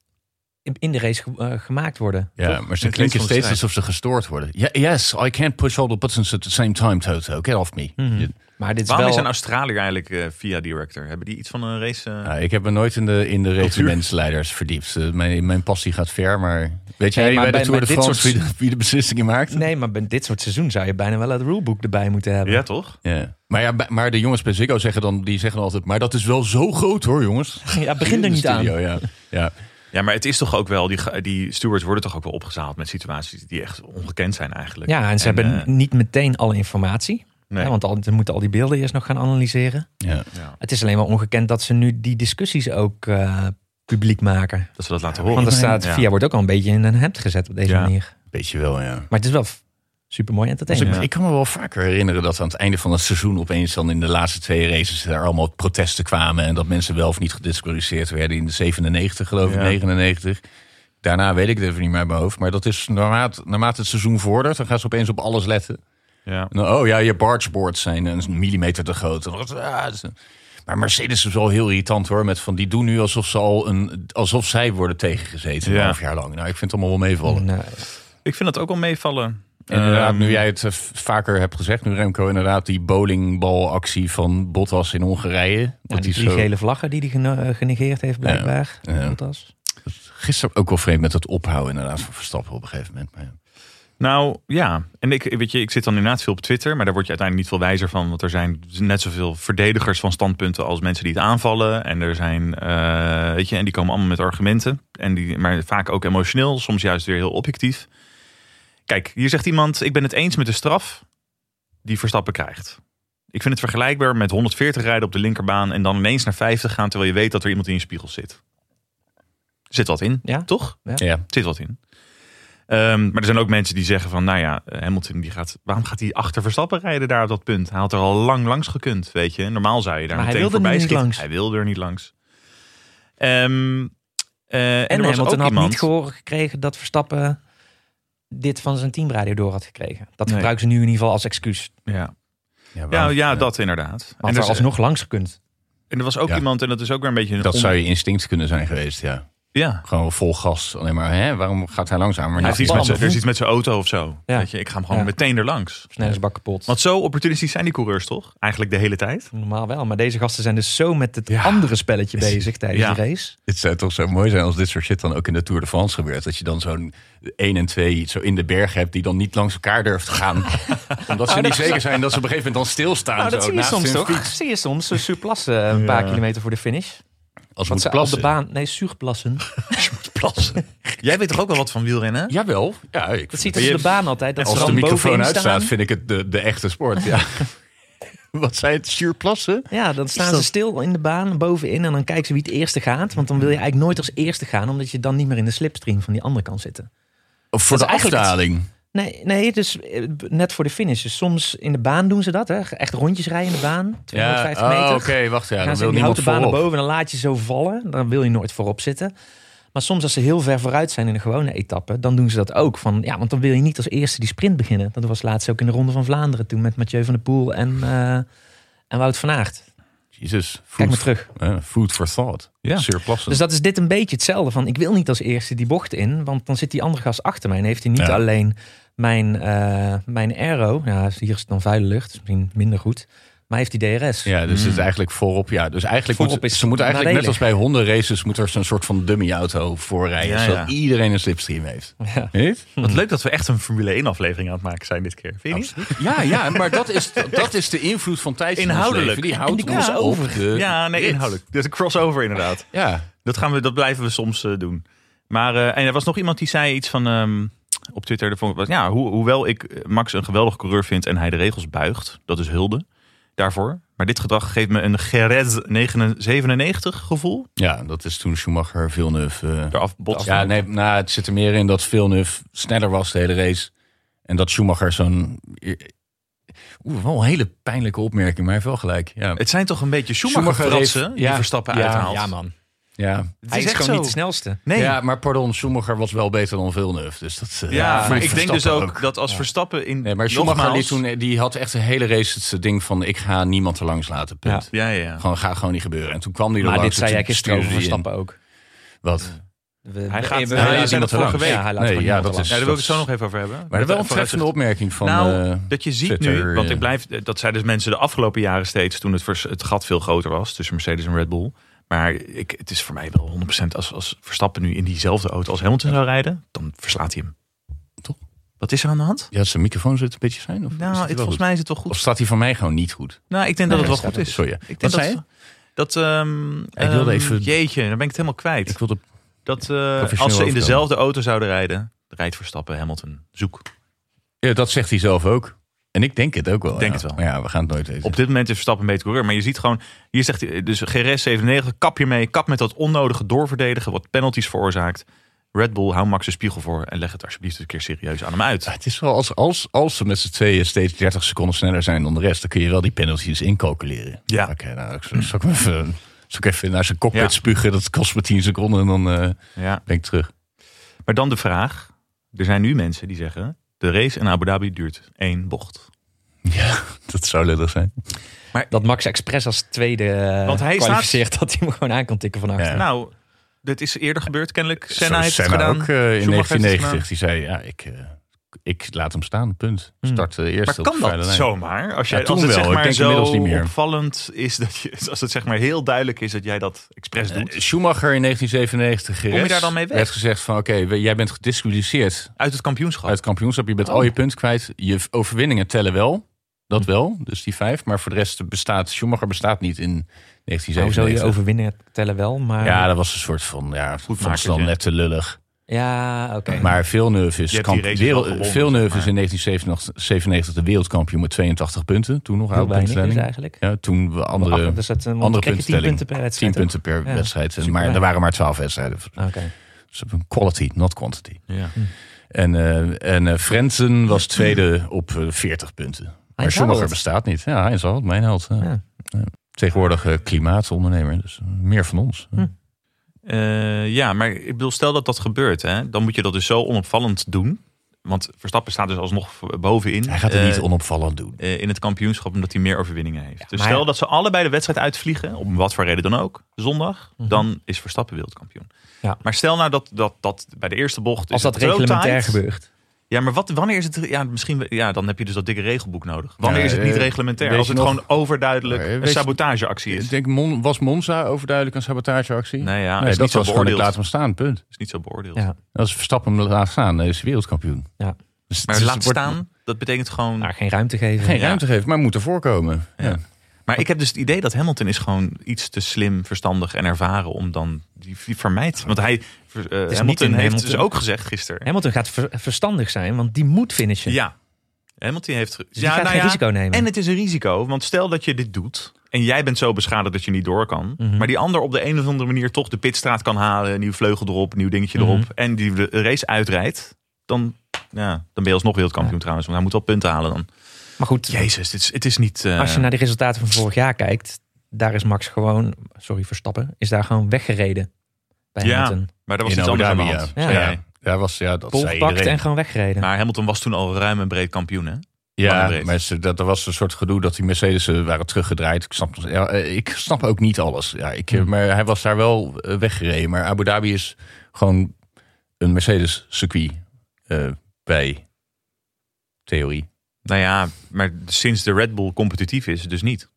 in- in de race ge- eh, gemaakt worden. Ja, toch? maar ze Het klinkt klinken van de steeds strijd. alsof ze gestoord worden. Ja, yes, I can't push all the buttons at the same time, Toto. Get off me. Mhm. Je- Maar dit is Waarom is nou wel... een Australiër eigenlijk eh, via director? Hebben die iets van een race? eh, Nou, ik heb me nooit in de, in de regimentsleiders verdiept. Eh, mijn, mijn passie gaat ver, maar... Weet jij Nee, bij maar de bij- Tour bij de dit France soort- wie, de, wie de beslissingen maakt? Nee, maar bij dit soort seizoen zou je bijna wel het rulebook erbij moeten hebben. Ja, toch? Ja. Maar, ja, bij- maar de jongens bij Ziggo zeggen dan, die zeggen dan altijd... Maar dat is wel zo groot hoor, jongens. (laughs) Ja, begin er In de niet aan. studio, Ja. Ja. Ja, maar het is toch ook wel, die, ge- die stewards worden toch ook wel opgezaald met situaties die echt ongekend zijn eigenlijk. Ja, en ze hebben eh, niet meteen alle informatie. nee. Ja, want al, ze moeten al die beelden eerst nog gaan analyseren. Ja. Het is alleen maar ongekend dat ze nu die discussies ook eh, publiek maken. dat ze dat laten horen. Want er staat, Ja. VIA wordt ook al een beetje in een hemd gezet op deze Ja. manier. Beetje wel, ja. Maar het is wel super mooi Dus ik, entertainment. ik kan me wel vaker herinneren dat aan het einde van het seizoen opeens dan in de laatste twee races er allemaal protesten kwamen en dat mensen wel of niet gedisqualificeerd werden in de 97 geloof ik, Ja. 99. Daarna weet ik het even niet meer uit mijn hoofd, maar dat is naarmate, naarmate het seizoen vordert, dan gaan ze opeens op alles letten. Ja. En dan, oh ja, je bargeboards zijn eh, een millimeter te groot. En dat, ah, dat is een- Maar Mercedes is wel heel irritant hoor, met van die doen nu alsof ze al een, alsof zij worden tegengezeten Ja. een half jaar lang. Nou, ik vind het allemaal wel meevallen. En, eh, Ik vind dat ook wel meevallen. En Inderdaad, Ehm, nu jij het eh, v- vaker hebt gezegd, nu Remco, inderdaad, die bowlingbalactie van Bottas in Hongarije. ja, dat die die drie zo, gele vlaggen die hij geno- eh, genegeerd heeft blijkbaar. Ja. Bottas. gisteren ook wel vreemd met het ophouden inderdaad van Verstappen op een gegeven moment. Maar ja. Nou ja, en ik, weet je, ik zit dan inderdaad veel op Twitter, maar daar word je uiteindelijk niet veel wijzer van. Want er zijn net zoveel verdedigers van standpunten als mensen die het aanvallen. En er zijn, eh, weet je, en die komen allemaal met argumenten. En die, maar vaak ook emotioneel, soms juist weer heel objectief. Kijk, hier zegt iemand: Ik ben het eens met de straf die Verstappen krijgt. Ik vind het vergelijkbaar met 140 rijden op de linkerbaan en dan ineens naar 50 gaan terwijl je weet dat er iemand in je spiegel zit. Zit wat in, Ja. toch? Ja. zit wat in. Ehm, maar er zijn ook mensen die zeggen van, nou ja, Hamilton die gaat, waarom gaat hij achter Verstappen rijden daar op dat punt? Hij had er al lang langs gekund, weet je. Normaal zou je daar Maar hij meteen wilde voorbij er niet schieten. langs. Hij wilde er niet langs. Ehm, eh, en er En was ook Hamilton had iemand, niet gehoord gekregen dat Verstappen dit van zijn teamradio door had gekregen. Dat Nee. gebruiken ze nu in ieder geval als excuus. ja. Ja, Ja, waarom- ja, dat inderdaad. Want En er, dus, er is- eh, alsnog langs gekund. en er was ook Ja. iemand, en dat is ook weer een beetje een... Dat on- zou je instinct kunnen zijn geweest, ja. Ja. Gewoon vol gas. Alleen maar, hè, waarom gaat hij langzaam? Maar nou, Hij heeft niet- iets met zijn- Er voet. is iets met zijn auto of zo. Ja. Weet je, ik ga hem gewoon Ja. meteen er langs. Snellingsbak kapot. Want zo opportunistisch zijn die coureurs toch? Eigenlijk de hele tijd. Normaal wel, maar deze gasten zijn dus zo met het Ja. andere spelletje bezig tijdens Ja. de race. Het zou toch zo mooi zijn als dit soort shit dan ook in de Tour de France gebeurt. Dat je dan zo'n 1 en 2 zo in de berg hebt die dan niet langs elkaar durft te (laughs) gaan. Omdat ze niet zeker zijn dat ze op een gegeven moment dan stilstaan. Nou, dat zo, zie je naast soms hun toch? fiets. zie je soms. Een surplassen een paar kilometer voor de finish. Als ze Wat moeten ze op de (laughs) plassen. baan... Nee, zuurplassen. plassen. Jij weet toch ook wel wat van wielrennen? Jawel. Ja, ik Dat ziet het er op de hebt- baan altijd. Dat ze Als de dan microfoon bovenin uitstaat, staan. vind ik het de, de echte sport. Ja. (laughs) Wat zei het? Zuurplassen? Ja, dan staan dat- ze stil in de baan, bovenin. En dan kijken ze wie het eerste gaat. Want dan wil je eigenlijk nooit als eerste gaan. Omdat je dan niet meer in de slipstream van die andere kan zitten. Of voor Dat de is eigenlijk het- afdaling. Nee, nee, dus eh, b- net voor de finish. Dus soms in de baan doen ze dat. Hè? Echt rondjes rijden in de baan. 250 oh, meter. Oké, wacht. Ja, gaan dan ze wil in die niemand houten baan naar voorop. boven en dan laat je zo vallen. Dan wil je nooit voorop zitten. Maar soms als ze heel ver vooruit zijn in een gewone etappe, dan doen ze dat ook. Van, ja, want dan wil je niet als eerste die sprint beginnen. Dat was laatst ook in de Ronde van Vlaanderen toen met Mathieu van der Poel en, eh, en Wout van Aert. Jezus. Kijk Food, maar terug. eh, food for thought. Ja. Zuurplassen. Dus dat is dit een beetje hetzelfde. Van, ik wil niet als eerste die bocht in, want dan zit die andere gast achter mij. En heeft hij niet Ja. alleen alleen mijn, eh, mijn aero, ja, hier is het dan vuile lucht, misschien minder goed. Maar heeft die DRS. Ja, dus Hmm. het is eigenlijk voorop. Ja, dus eigenlijk Voorop moet, is ze moeten eigenlijk net als nadelig. bij hondenraces moet er zo'n soort van dummy-auto voor rijden. Ja, zodat ja. iedereen een slipstream heeft. Niet? Wat leuk dat we echt een Formule 1 aflevering aan het maken zijn dit keer. Vind je niet? Ja, ja, maar dat is, dat is de invloed van tijd. in ons Inhoudelijk. leven. Die houdt En die ons komt over. Ja, nee, inhoudelijk. Dat is een crossover (laughs) inderdaad. Ja. Dat, gaan we, dat blijven we soms eh, doen. Maar eh, en er was nog iemand die zei iets van ehm, op Twitter. dat vond ik wel- ja, ho- hoewel ik eh, Max een geweldig coureur vind en hij de regels buigt. Dat is hulde daarvoor. Maar dit gedrag geeft me een Gerez 97 gevoel. ja, dat is toen Schumacher Villeneuve... eh, Eraf botsen. ja, nee, nou, het zit er meer in dat Villeneuve sneller was de hele race. En dat Schumacher zo'n... Oeh, wel een hele pijnlijke opmerking, maar hij heeft wel gelijk. Ja, Het zijn toch een beetje Schumacher heeft- Schumacher-fratsen die ja. Verstappen Ja. uithaalt. Ja, man. ja. Het Hij is, echt gewoon zo. niet de snelste. Nee. ja maar pardon, Schumacher was wel beter dan Villeneuve. Dus dat, eh, Ja, voelt maar ik denk Verstappen dus ook, dat als Verstappen in Nee, maar Schumacher die nogmaals, toen, die had echt een hele race het ding van... ik ga niemand er langs laten, punt. Ja, ja, ja. Gewoon, ga gewoon niet gebeuren. En toen kwam die er Maar langs. dit en zei jij toen gisteren over stuurde die in. Verstappen ook. Wat? We- Hij we- gaat- we- hij we- laat we- iemand vorige langs. week. Ja, hij laat Nee, gewoon ja, iemand dat is- Ja, daar wil ik het zo Dat- nog even over hebben. Maar dat wel een Vooruit- treffende opmerking van... nou, eh, dat je ziet Twitter, nu, want eh. ik blijf, dat zeiden dus mensen de afgelopen jaren steeds toen het, vers- het gat veel groter was tussen Mercedes en Red Bull. Maar ik, het is voor mij wel 100% als, als Verstappen nu in diezelfde auto als Hamilton zou rijden, dan verslaat hij hem. Toch? Wat is er aan de hand? ja, zijn microfoon zit een beetje zijn? Of is die Nou, wel het, volgens goed? mij is het wel Of goed. staat hij van mij gewoon niet goed? Nou, ik denk dat het wel goed is. Sorry. Ik Wat denk zei je? dat, dat ehm, Ik wilde ehm, even- Jeetje, dan ben ik het helemaal kwijt. Ik wilde... dat eh, als ze in overkomen. dezelfde auto zouden rijden, rijdt Verstappen Hamilton. Zoek. Ja, dat zegt hij zelf ook. En ik denk het ook wel. Denk ja. het wel. Maar ja, we gaan het nooit weten. Op dit moment is Verstappen een beter coureur. Maar je ziet gewoon, hier zegt hij, dus GRS 97, kap je mee. Kap met dat onnodige doorverdedigen wat penalties veroorzaakt. Red Bull, hou Max de spiegel voor en leg het alsjeblieft een keer serieus aan hem uit. Ah, Het is wel als, als, als ze met z'n tweeën steeds 30 seconden sneller zijn dan de rest, dan kun je wel die penalties incalculeren. Ja. Oké, nou, ik zal, zal ik hem even, zal ik even naar zijn cockpit Ja. spugen. Dat kost me 10 seconden en dan eh, Ja. ben ik terug. Maar dan de vraag, er zijn nu mensen die zeggen, de race in Abu Dhabi duurt één bocht. Ja, dat zou lullig zijn. Dat Max Express als tweede eh, Want hij staat- kwalificeert dat hij hem gewoon aan kan tikken van achter. Ja. Nou, dit is eerder gebeurd kennelijk. Senna Zo heeft het Senna gedaan. ook eh, in Schumacher heeft het gedaan. 1990. Die zei, ja, ik, eh, ik laat hem staan, punt. Start de eerste Hmm. Maar op kan de vrije dat lijn. zomaar? Als, jij, Ja, toen als het wel. zeg Ik maar denk zo inmiddels niet meer. opvallend is, dat je, als het zeg maar heel duidelijk is dat jij dat expres doet. Eh, Schumacher in 1997 je gerest, daar dan mee weg? werd gezegd van oké, we- jij bent gedisqualificeerd uit het kampioenschap. uit het kampioenschap. Je bent Oh. al je punten kwijt. Je v- overwinningen tellen wel. Dat Hmm. wel, dus die vijf. Maar voor de rest bestaat Schumacher bestaat niet in Hoe Nou, zou je 1997. overwinningen tellen wel, Ah. maar... Ja, dat was een soort van, ja, vond ze dan makertje. net te lullig. Ja, oké. Maar Villeneuve is, Je hebt kamp- die race wel wereld- gewonnen, Villeneuve zeg is in 1997 de wereldkampioen met 82 punten. Toen nog Heel oude weinig is puntenstelling. eigenlijk. Ja, toen we andere, Ach, dus dat, eh, want andere dan krijg je 10 puntenstelling. punten per wedstrijd. 10 punten per Ja, wedstrijd. En super Maar er weinig. waren maar 12 wedstrijden. Oké. Dus quality, not quantity. Ja. En, eh en eh, Frentzen was tweede op eh, 40 punten. Maar Heinz Schumacher Harald. bestaat niet. Ja, hij is al mijn held. ja. Ja. Ja. Tegenwoordig eh, klimaatondernemer, dus meer van ons. Eh, ja, maar ik bedoel, stel dat dat gebeurt, hè, dan moet je dat dus zo onopvallend doen. Want Verstappen staat dus alsnog v- bovenin. Hij gaat het eh, niet onopvallend doen. eh, in het kampioenschap, omdat hij meer overwinningen heeft. dus maar- stel dat ze allebei de wedstrijd uitvliegen, om wat voor reden dan ook, zondag, dan is Verstappen wereldkampioen. Mhm. Ja. Maar stel nou dat, dat, dat bij de eerste bocht. Als is dat het rood reglementair tijd. gebeurt. Ja, maar wat, wanneer is het. Ja, misschien, ja, dan heb je dus dat dikke regelboek nodig. Wanneer Ja, is het niet eh, reglementair? weet Als je het nog- gewoon overduidelijk Eh, een weet je- sabotageactie is. Ik denk, Mon- was Monza overduidelijk een sabotageactie? Nee, ja, nee is dat niet zo was gewoon, ik beoordeeld. laat hem staan, punt. is niet zo beoordeeld. Ja. Als Verstappen hem laat staan, dan is hij wereldkampioen. Ja. Dus het Maar is- laat wordt staan, dat betekent gewoon. Maar geen ruimte geven. Geen Ja. ruimte geven, maar moet ervoor komen. Ja. Maar ik heb dus het idee dat Hamilton is gewoon iets te slim, verstandig en ervaren om dan die die vermijdt. Want hij, ver- eh, niet Hamilton in heeft Hamilton. dus ook gezegd gisteren. Hamilton gaat ver- verstandig zijn, want die moet finishen. Ja, Hamilton heeft. ge- nou Dus die gaat geen risico nemen. En het is een risico, want stel dat je dit doet en jij bent zo beschadigd dat je niet door kan, Mhm. maar die ander op de een of andere manier toch de pitstraat kan halen, een nieuw vleugel erop, een nieuw dingetje Mhm. erop en die de race uitrijdt, dan, ja, dan ben je alsnog wereldkampioen trouwens, want hij moet wel punten halen dan. Maar goed, Jezus, dit is, het is niet. eh, als je naar de resultaten van vorig jaar kijkt, daar is Max gewoon, sorry Verstappen, is daar gewoon weggereden bij Ja. Hamilton. maar daar was In iets anders aan de Abu Dhabi, hand. ja. zei Ja. jij. Ja. Ja, was, ja, dat Pol zei gepakt iedereen. en gewoon weggereden. Maar Hamilton was toen al ruim en breed kampioen, hè? Ja, mannenbreed. maar ze- dat, er was een soort gedoe dat die Mercedes eh, waren teruggedraaid. Ik snap, ja, eh, ik snap ook niet alles. Ja, ik, Hmm. eh, Maar hij was daar wel eh, weggereden. Maar Abu Dhabi is gewoon een Mercedes-circuit eh, bij theorie. Nou ja, maar sinds de Red Bull competitief is, dus niet.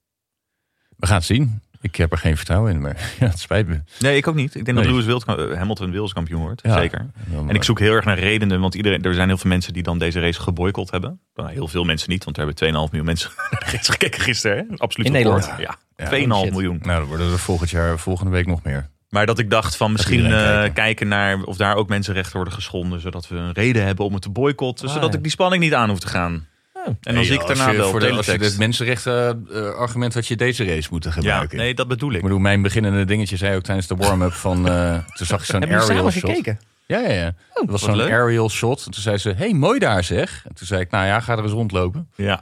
We gaan het zien. Ik heb er geen vertrouwen in, maar (laughs) ja, het spijt me. Nee, ik ook niet. Ik denk dat Nee. Lewis Wild, eh, Hamilton wereldkampioen wordt, Ja. zeker. Dan, eh, En ik zoek heel erg naar redenen, want iedereen, er zijn heel veel mensen die dan deze race geboycott hebben. Nou, heel veel mensen niet, want er hebben 2,5 miljoen mensen (laughs) naar de race gekeken gisteren. Hè? Absoluut In record. Nederland? Ja, Ja, 2,5 shit. miljoen. Nou, dan worden er volgend jaar, volgende week nog meer. Maar dat ik dacht van misschien iedereen eh, kijken. kijken naar of daar ook mensenrechten worden geschonden, zodat we een reden hebben om het te boycotten, Ah, zodat ja. ik die spanning niet aan hoef te gaan. En dan Hey, zie ik als daarna je wel Voor de, als je teletext. het mensenrechten eh, argument dat je deze race moet Ja, gebruiken. nee, dat bedoel ik. Ik bedoel, mijn beginnende dingetje zei ook tijdens de warm-up van... eh, (laughs) toen zag ik zo'n Hebben jullie aerial samen shot. gekeken? Ja, ja, ja. Het was zo'n leuk. aerial shot. En toen zei ze, hey, mooi daar zeg. En toen zei ik, nou ja, ga er eens rondlopen. (laughs) Ja,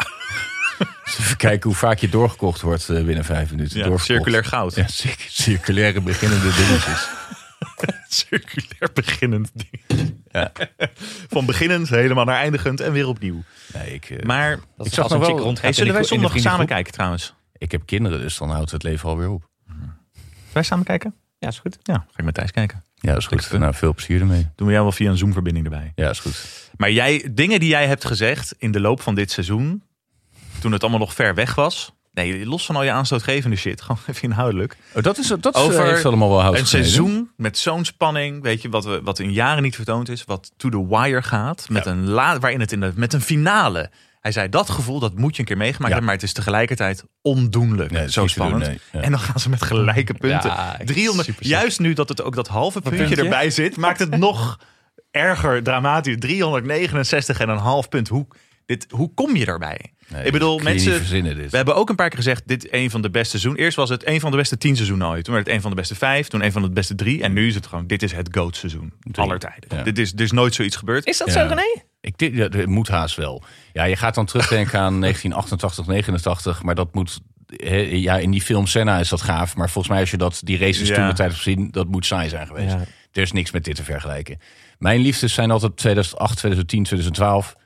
Dus even kijken hoe vaak je doorgekocht wordt eh, binnen vijf minuten. ja. (laughs) Doorverkocht. circulair goud. Ja, cir- (laughs) circulaire beginnende dingetjes. circulair beginnend ding. Ja. Van beginnend helemaal naar eindigend en weer opnieuw. (laughs) Nee, ik, eh, Maar Dat Ik is zag nog als een wel- chick rondgaat hey, in zullen de wij gro- in de zondag samen vriendengroep. kijken trouwens? ik heb kinderen, dus dan houdt het leven alweer op. Wij samen kijken? Ja, is goed. Ja, ga ik met Thijs kijken. Ja, dat is goed. Dikke. Nou, veel plezier ermee. Doen we jou wel via een Zoom-verbinding erbij. Ja, dat is goed. Maar jij, dingen die jij hebt gezegd in de loop van dit seizoen, toen het allemaal nog ver weg was. Nee, los van al je aanstootgevende shit, (laughs) gewoon even inhoudelijk. Oh, dat is, dat is, Over heeft allemaal wel hout Een gesneden. seizoen met zo'n spanning, weet je, wat, we, wat in jaren niet vertoond is, wat to the wire gaat, met een la, waarin het in de, met een finale. Hij zei dat gevoel, dat moet je een keer meegemaakt Ja. hebben, maar het is tegelijkertijd ondoenlijk. Nee, dat is zo niet te doen, spannend. nee. Ja. En dan gaan ze met gelijke punten. Ja, ik- 300, super sick. juist nu dat het ook dat halve puntje, puntje? erbij zit, maakt het nog erger dramatisch. 369 en een half punt. Hoe, dit, hoe kom je daarbij? Nee, ik bedoel, dat kun je mensen, niet verzinnen, dit. we hebben ook een paar keer gezegd, dit is een van de beste seizoenen. Eerst was het een van de beste tien seizoenen ooit. Toen werd het een van de beste vijf, toen een van de beste drie. En nu is het gewoon, dit is het GOAT seizoen. Aller tijden. Ja. Dit is, er is nooit zoiets gebeurd. Is dat Ja. zo, René? Ik, denk- ja, het moet haast wel. Ja, je gaat dan terugdenken aan (laughs) 1988, 89. Maar dat moet... hè, ja, in die film Senna is dat gaaf. Maar volgens mij als je dat, die races Ja. toen de tijd hebt gezien... dat moet saai zijn geweest. Ja. Er is niks met dit te vergelijken. Mijn liefdes zijn altijd 2008, 2010, 2012.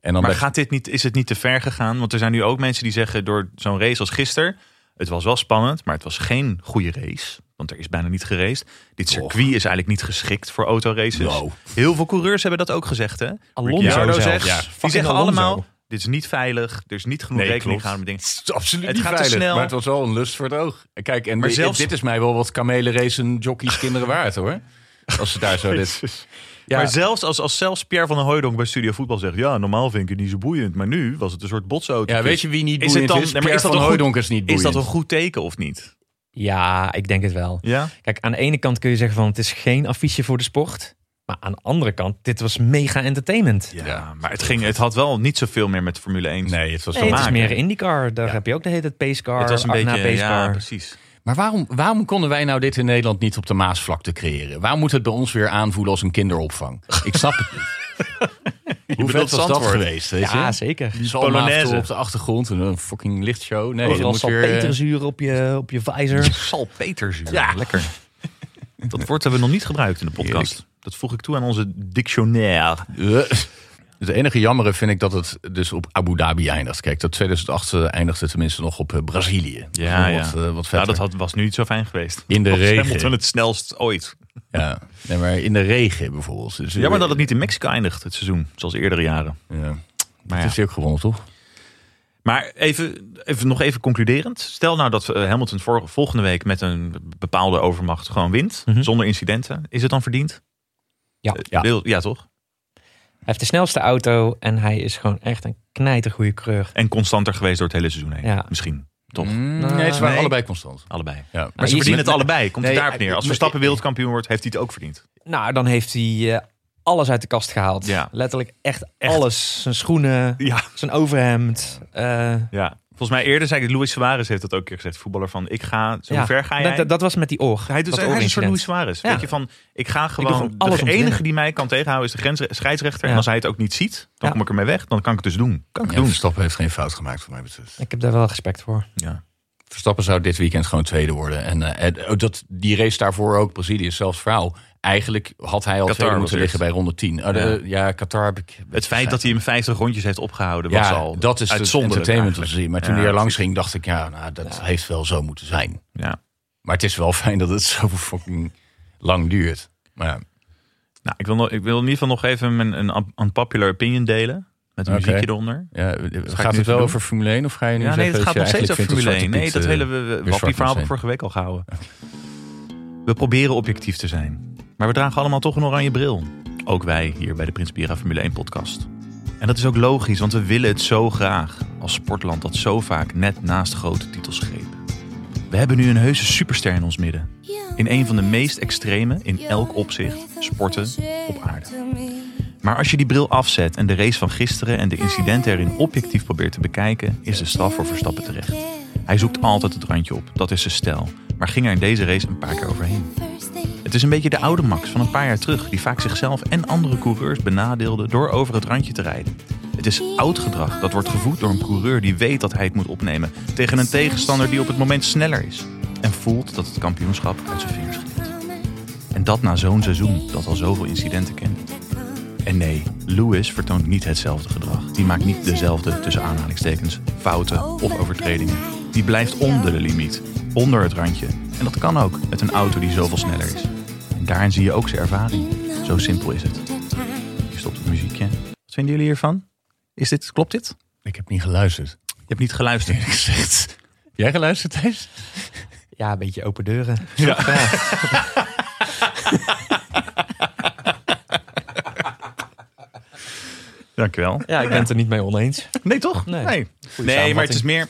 En dan maar bij- gaat dit niet, is het niet te ver gegaan? Want er zijn nu ook mensen die zeggen, door zo'n race als gisteren, het was wel spannend, maar het was geen goede race. Want er is bijna niet geraced. Dit circuit is eigenlijk niet geschikt voor autoraces. No. Heel veel coureurs hebben dat ook gezegd, hè? Alonso Ricciardo zelfs. zegt, Ja, die fucking zeggen Alonso. allemaal, dit is niet veilig. Er is niet genoeg Nee, klopt. rekening gehouden met dingen. Het is absoluut Het niet gaat te veilig, snel. maar het was wel een lust voor het oog. En Kijk, en Maar di- zelfs- dit is mij wel wat kamelenracen jockeys kinderen waard hoor. Als ze daar zo dit... Ja, Maar zelfs als, als zelfs Pierre van der Hooijdonk bij Studio Voetbal zegt... ja, normaal vind ik het niet zo boeiend, maar nu was het een soort botsauto. ja, weet je wie niet Is het boeiend dan- is? Nee, maar Pierre is dat van een goed- Hooijdonk is niet Is boeiend. dat een goed teken of niet? Ja, ik denk het wel. Ja? Kijk, aan de ene kant kun je zeggen van het is geen affiche voor de sport. Maar aan de andere kant, dit was mega entertainment. Ja, maar het, ging, het had wel niet zoveel meer met Formule 1. Nee, het was Nee, het is maken. meer IndyCar. Daar heb je ook de hele tijd pacecar. het was een beetje... na Ja, pacecar. precies. Maar waarom, waarom konden wij nou dit in Nederland niet op de Maasvlakte creëren? Waarom moet het bij ons weer aanvoelen als een kinderopvang? Ik snap het niet. Hoe vet bedoelt was dat Zandvoort? geweest? Weet ja, je? zeker. Die Polonaise Polonaise. op de achtergrond en een fucking lichtshow. Nee, dat Overal moet weer... eh, salpeterzuur op je, op je visor. Salpeterzuur. (laughs) Ja, lekker. Dat woord hebben we nog niet gebruikt in de podcast. Dat voeg ik toe aan onze dictionaire. eh. (laughs) Het enige jammere vind ik dat het dus op Abu Dhabi eindigt. Kijk, dat 2008 eindigde tenminste nog op eh, Brazilië. Ja, ja. wat, eh, wat Nou, vetter. dat had, was nu niet zo fijn geweest. In de Volgens mij regen. moeten we het snelst ooit. ja. Nee, maar in de regen bijvoorbeeld. Dus, eh, Jammer dat het niet in Mexico eindigt, het seizoen. Zoals eerdere jaren. Ja. Maar Dat ja. is hij ook gewonnen, toch? Maar even, even, nog even concluderend. Stel nou dat eh, Hamilton vor- volgende week met een bepaalde overmacht gewoon wint. Mhm. Zonder incidenten. Is het dan verdiend? Ja. Eh, Ja. wil- ja toch? Hij heeft de snelste auto en hij is gewoon echt een knijtergoeie coureur. En constanter geweest door het hele seizoen heen. Ja. Misschien. Toch? Mm, nee, Nee. ze waren Nee. allebei constant. Allebei. Ja. Maar ze je eh, verdienen ziet- het allebei. Komt Nee, het daarop neer. Als ik- Verstappen wereldkampioen wordt, heeft hij het ook verdiend. Nou, dan heeft hij eh, alles uit de kast gehaald. Ja. Letterlijk echt, Echt. alles. Zijn schoenen, Ja. zijn overhemd. eh, ja. Volgens mij eerder zei ik, Luis Suarez heeft dat ook een keer gezegd. Voetballer van, ik ga, zo ja. ver ga jij. Dat- Dat, dat was met die oor. hij doet dat hij is een soort oorincident. Luis Suarez. Ja. Weet je, van, ik ga gewoon, gewoon alles om de te enige winnen. die mij kan tegenhouden is de grens, scheidsrechter. Ja. En als hij het ook niet ziet, dan Ja. kom ik ermee weg. Dan kan ik het dus doen. Kan ik Ja, doen. Verstappen heeft geen fout gemaakt, voor mij betreft. Ik heb daar wel respect voor. Ja. Verstappen zou dit weekend gewoon tweede worden. En eh, eh, oh, dat, die race daarvoor ook, Brazilië, is zelfs verhaal. Eigenlijk had hij al Qatar tweede was moeten eerst. liggen bij ronde 10. Oh, de- Ja. ja. Qatar heb ik... Het feit dat hij hem 50 rondjes heeft opgehouden was Ja, al dat is het uitzonderlijk entertainment om te eigenlijk. zien. Maar toen Ja, hij er langs precies. ging, dacht ik, ja, nou, dat heeft wel zo moeten zijn. Ja. Maar het is wel (laughs) fijn dat het zo fucking lang duurt. Maar ja, Nou, ik wil, nog- ik wil in ieder geval nog even mijn, een unpopular opinion delen. Met een Oké. muziekje eronder. ja, ik gaat nu het wel doen? over Formule 1 of ga je nu Ja, nee, zeggen het gaat nog dat je steeds over eigenlijk Formule 1. Nee, vindt dat Zwarte Piet, hele eh, we- we- weer zwart wappie-verhaal moet heb ik vorige week al gehouden. We proberen objectief te zijn. Maar we dragen allemaal toch een oranje bril. Ook wij hier bij de Prins Bira Formule 1 podcast. En dat is ook logisch, want we willen het zo graag. Als sportland dat zo vaak net naast grote titels greep. We hebben nu een heuse superster in ons midden. In een van de meest extreme, in elk opzicht, sporten op aarde. Maar als je die bril afzet en de race van gisteren en de incidenten erin objectief probeert te bekijken, is de straf voor Verstappen terecht. Hij zoekt altijd het randje op, dat is zijn stijl, maar ging er in deze race een paar keer overheen. Het is een beetje de oude Max van een paar jaar terug, die vaak zichzelf en andere coureurs benadeelde door over het randje te rijden. Het is oud gedrag dat wordt gevoed door een coureur die weet dat hij het moet opnemen tegen een tegenstander die op het moment sneller is en voelt dat het kampioenschap uit zijn vingers glipt. En dat na zo'n seizoen dat al zoveel incidenten kent. En nee, Lewis vertoont niet hetzelfde gedrag. Die maakt niet dezelfde, tussen aanhalingstekens, fouten of overtredingen. Die blijft onder de limiet, onder het randje. En dat kan ook met een auto die zoveel sneller is. En daarin zie je ook zijn ervaring. Zo simpel is het. Je stopt het muziekje. Wat vinden jullie hiervan? Is dit, klopt dit? Ik heb niet geluisterd. Je hebt niet geluisterd. Gezegd. Jij geluisterd, (laughs) Thijs? Ja, een beetje open deuren. Dankjewel. Ja, (laughs) ik ben het er niet mee oneens. Nee, toch? Nee, Nee. nee samenvatting. maar het is meer...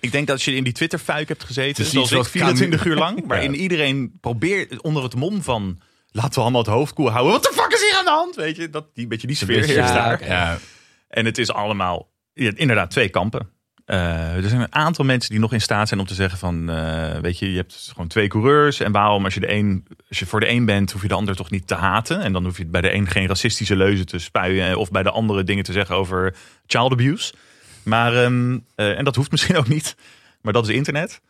Ik denk dat als je in die Twitter-fuik hebt gezeten, Precies, zoals ik wat kan- 24 uur lang, waarin (laughs) Ja. iedereen probeert onder het mom van... Laten we allemaal het hoofd koel houden. Wat de fuck is hier aan de hand? Weet je, dat, die beetje die sfeer beetje, heerst ja, daar. oké. Ja, En het is allemaal, ja, inderdaad, twee kampen. Eh, er zijn een aantal mensen die nog in staat zijn om te zeggen van... eh, weet je, je hebt gewoon twee coureurs. En waarom als je, de een, als je voor de een bent, hoef je de ander toch niet te haten? En dan hoef je bij de een geen racistische leuzen te spuien... eh, of bij de andere dingen te zeggen over child abuse. Maar, ehm, eh, en dat hoeft misschien ook niet. Maar dat is internet.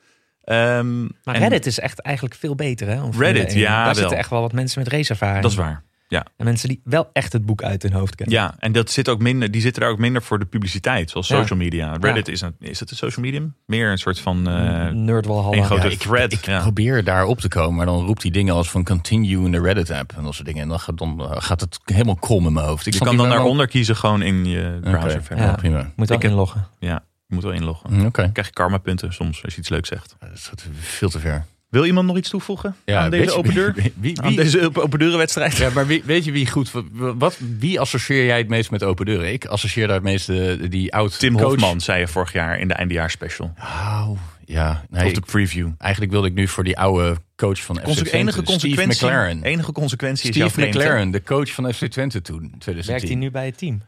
Ehm, Maar en Reddit is echt eigenlijk veel beter. Hè, om Formule Reddit, 1. ja, Daar wel. zitten echt wel wat mensen met raceervaring. Dat is waar. Ja. En mensen die wel echt het boek uit hun hoofd kennen. Ja, en dat zit ook minder, die zitten daar ook minder voor de publiciteit, zoals Ja. Mm. social media. Reddit is, een, is dat een social medium? Meer een soort van eh, Nerdwalhalla. een grote Ja, ik- thread. ja. Probeer daar op te komen, maar dan roept die dingen als van continue in de Reddit-app en dat soort dingen. En dan gaat, dan eh, gaat het helemaal krom in mijn hoofd. Ik Je snap kan niet dan naar waarom- onder kiezen gewoon in je Oké, browser. verder. ja, Ja. prima. Moet wel Ik heb- inloggen. Ja, je moet wel inloggen. Mm, Oké, Dan krijg je karma punten soms als je iets leuks zegt. dat is veel te ver. Wil iemand nog iets toevoegen aan deze weet je- open deur? (laughs) Wie, wie- Aan deze open- open deuren wedstrijd? Ja, maar wie- weet je wie goed... Wat, wie associeer jij het meest met open deuren? Ik associeer daar het meest eh, die oud Tim coach. Hofman zei je vorig jaar in de eindejaarsspecial. Au, ja, nee, of de ik- preview. eigenlijk wilde ik nu voor die oude coach van FC Conse- Twente. enige Steve consequentie, McLaren. enige consequentie is jouw Steve vreemde. McLaren, de coach van FC Twente toen, Werkt 2010. hij nu bij het team?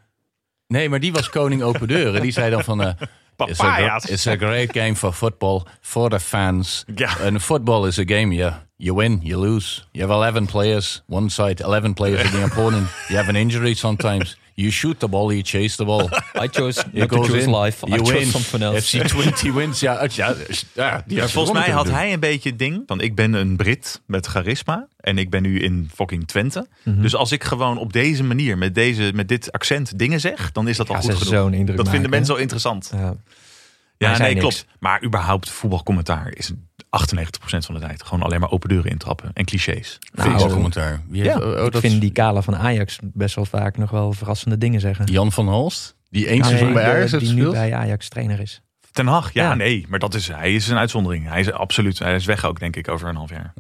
Nee, maar die was koning open deuren. Die zei dan van... eh, it's, a, Papaya's. gr- it's a great game for football, for the fans. Ja. And football is a game, yeah. You win, you lose. You have 11 players, one side, 11 players (laughs) in the opponent. You have an injury sometimes. You shoot the ball, you chase the (laughs) ball. I (laughs) chose It not to goes in, choose life. I you chose win. something else. FC 20 wins, ja. uit- ja, ja, die Maar had volgens mij gewonnen had toen. hij een beetje het ding van ik ben een Brit met charisma en ik ben nu in fucking Twente. Dus als ik gewoon op deze manier met, deze, met dit accent dingen zeg, dan is dat al Ja, goed ze genoeg. zo'n indruk dat vinden maken, mensen al interessant. Ja. Nou, Ja, hij zei nee, niks. klopt. Maar überhaupt voetbalcommentaar is 98% van de tijd gewoon alleen maar open deuren intrappen en clichés. Nou, Vind ik eh, commentaar. Wie heeft- oh, oh, ik dat vind is die Kala van Ajax best wel vaak nog wel verrassende dingen zeggen. Jan van Halst, die één Nee, seizoen bij de- Ajax heeft die nu gespeeld. bij Ajax trainer is. Ten Hag, ja, Ja. nee, maar dat is, hij is een uitzondering. Hij is absoluut, hij is weg ook denk ik over een half jaar.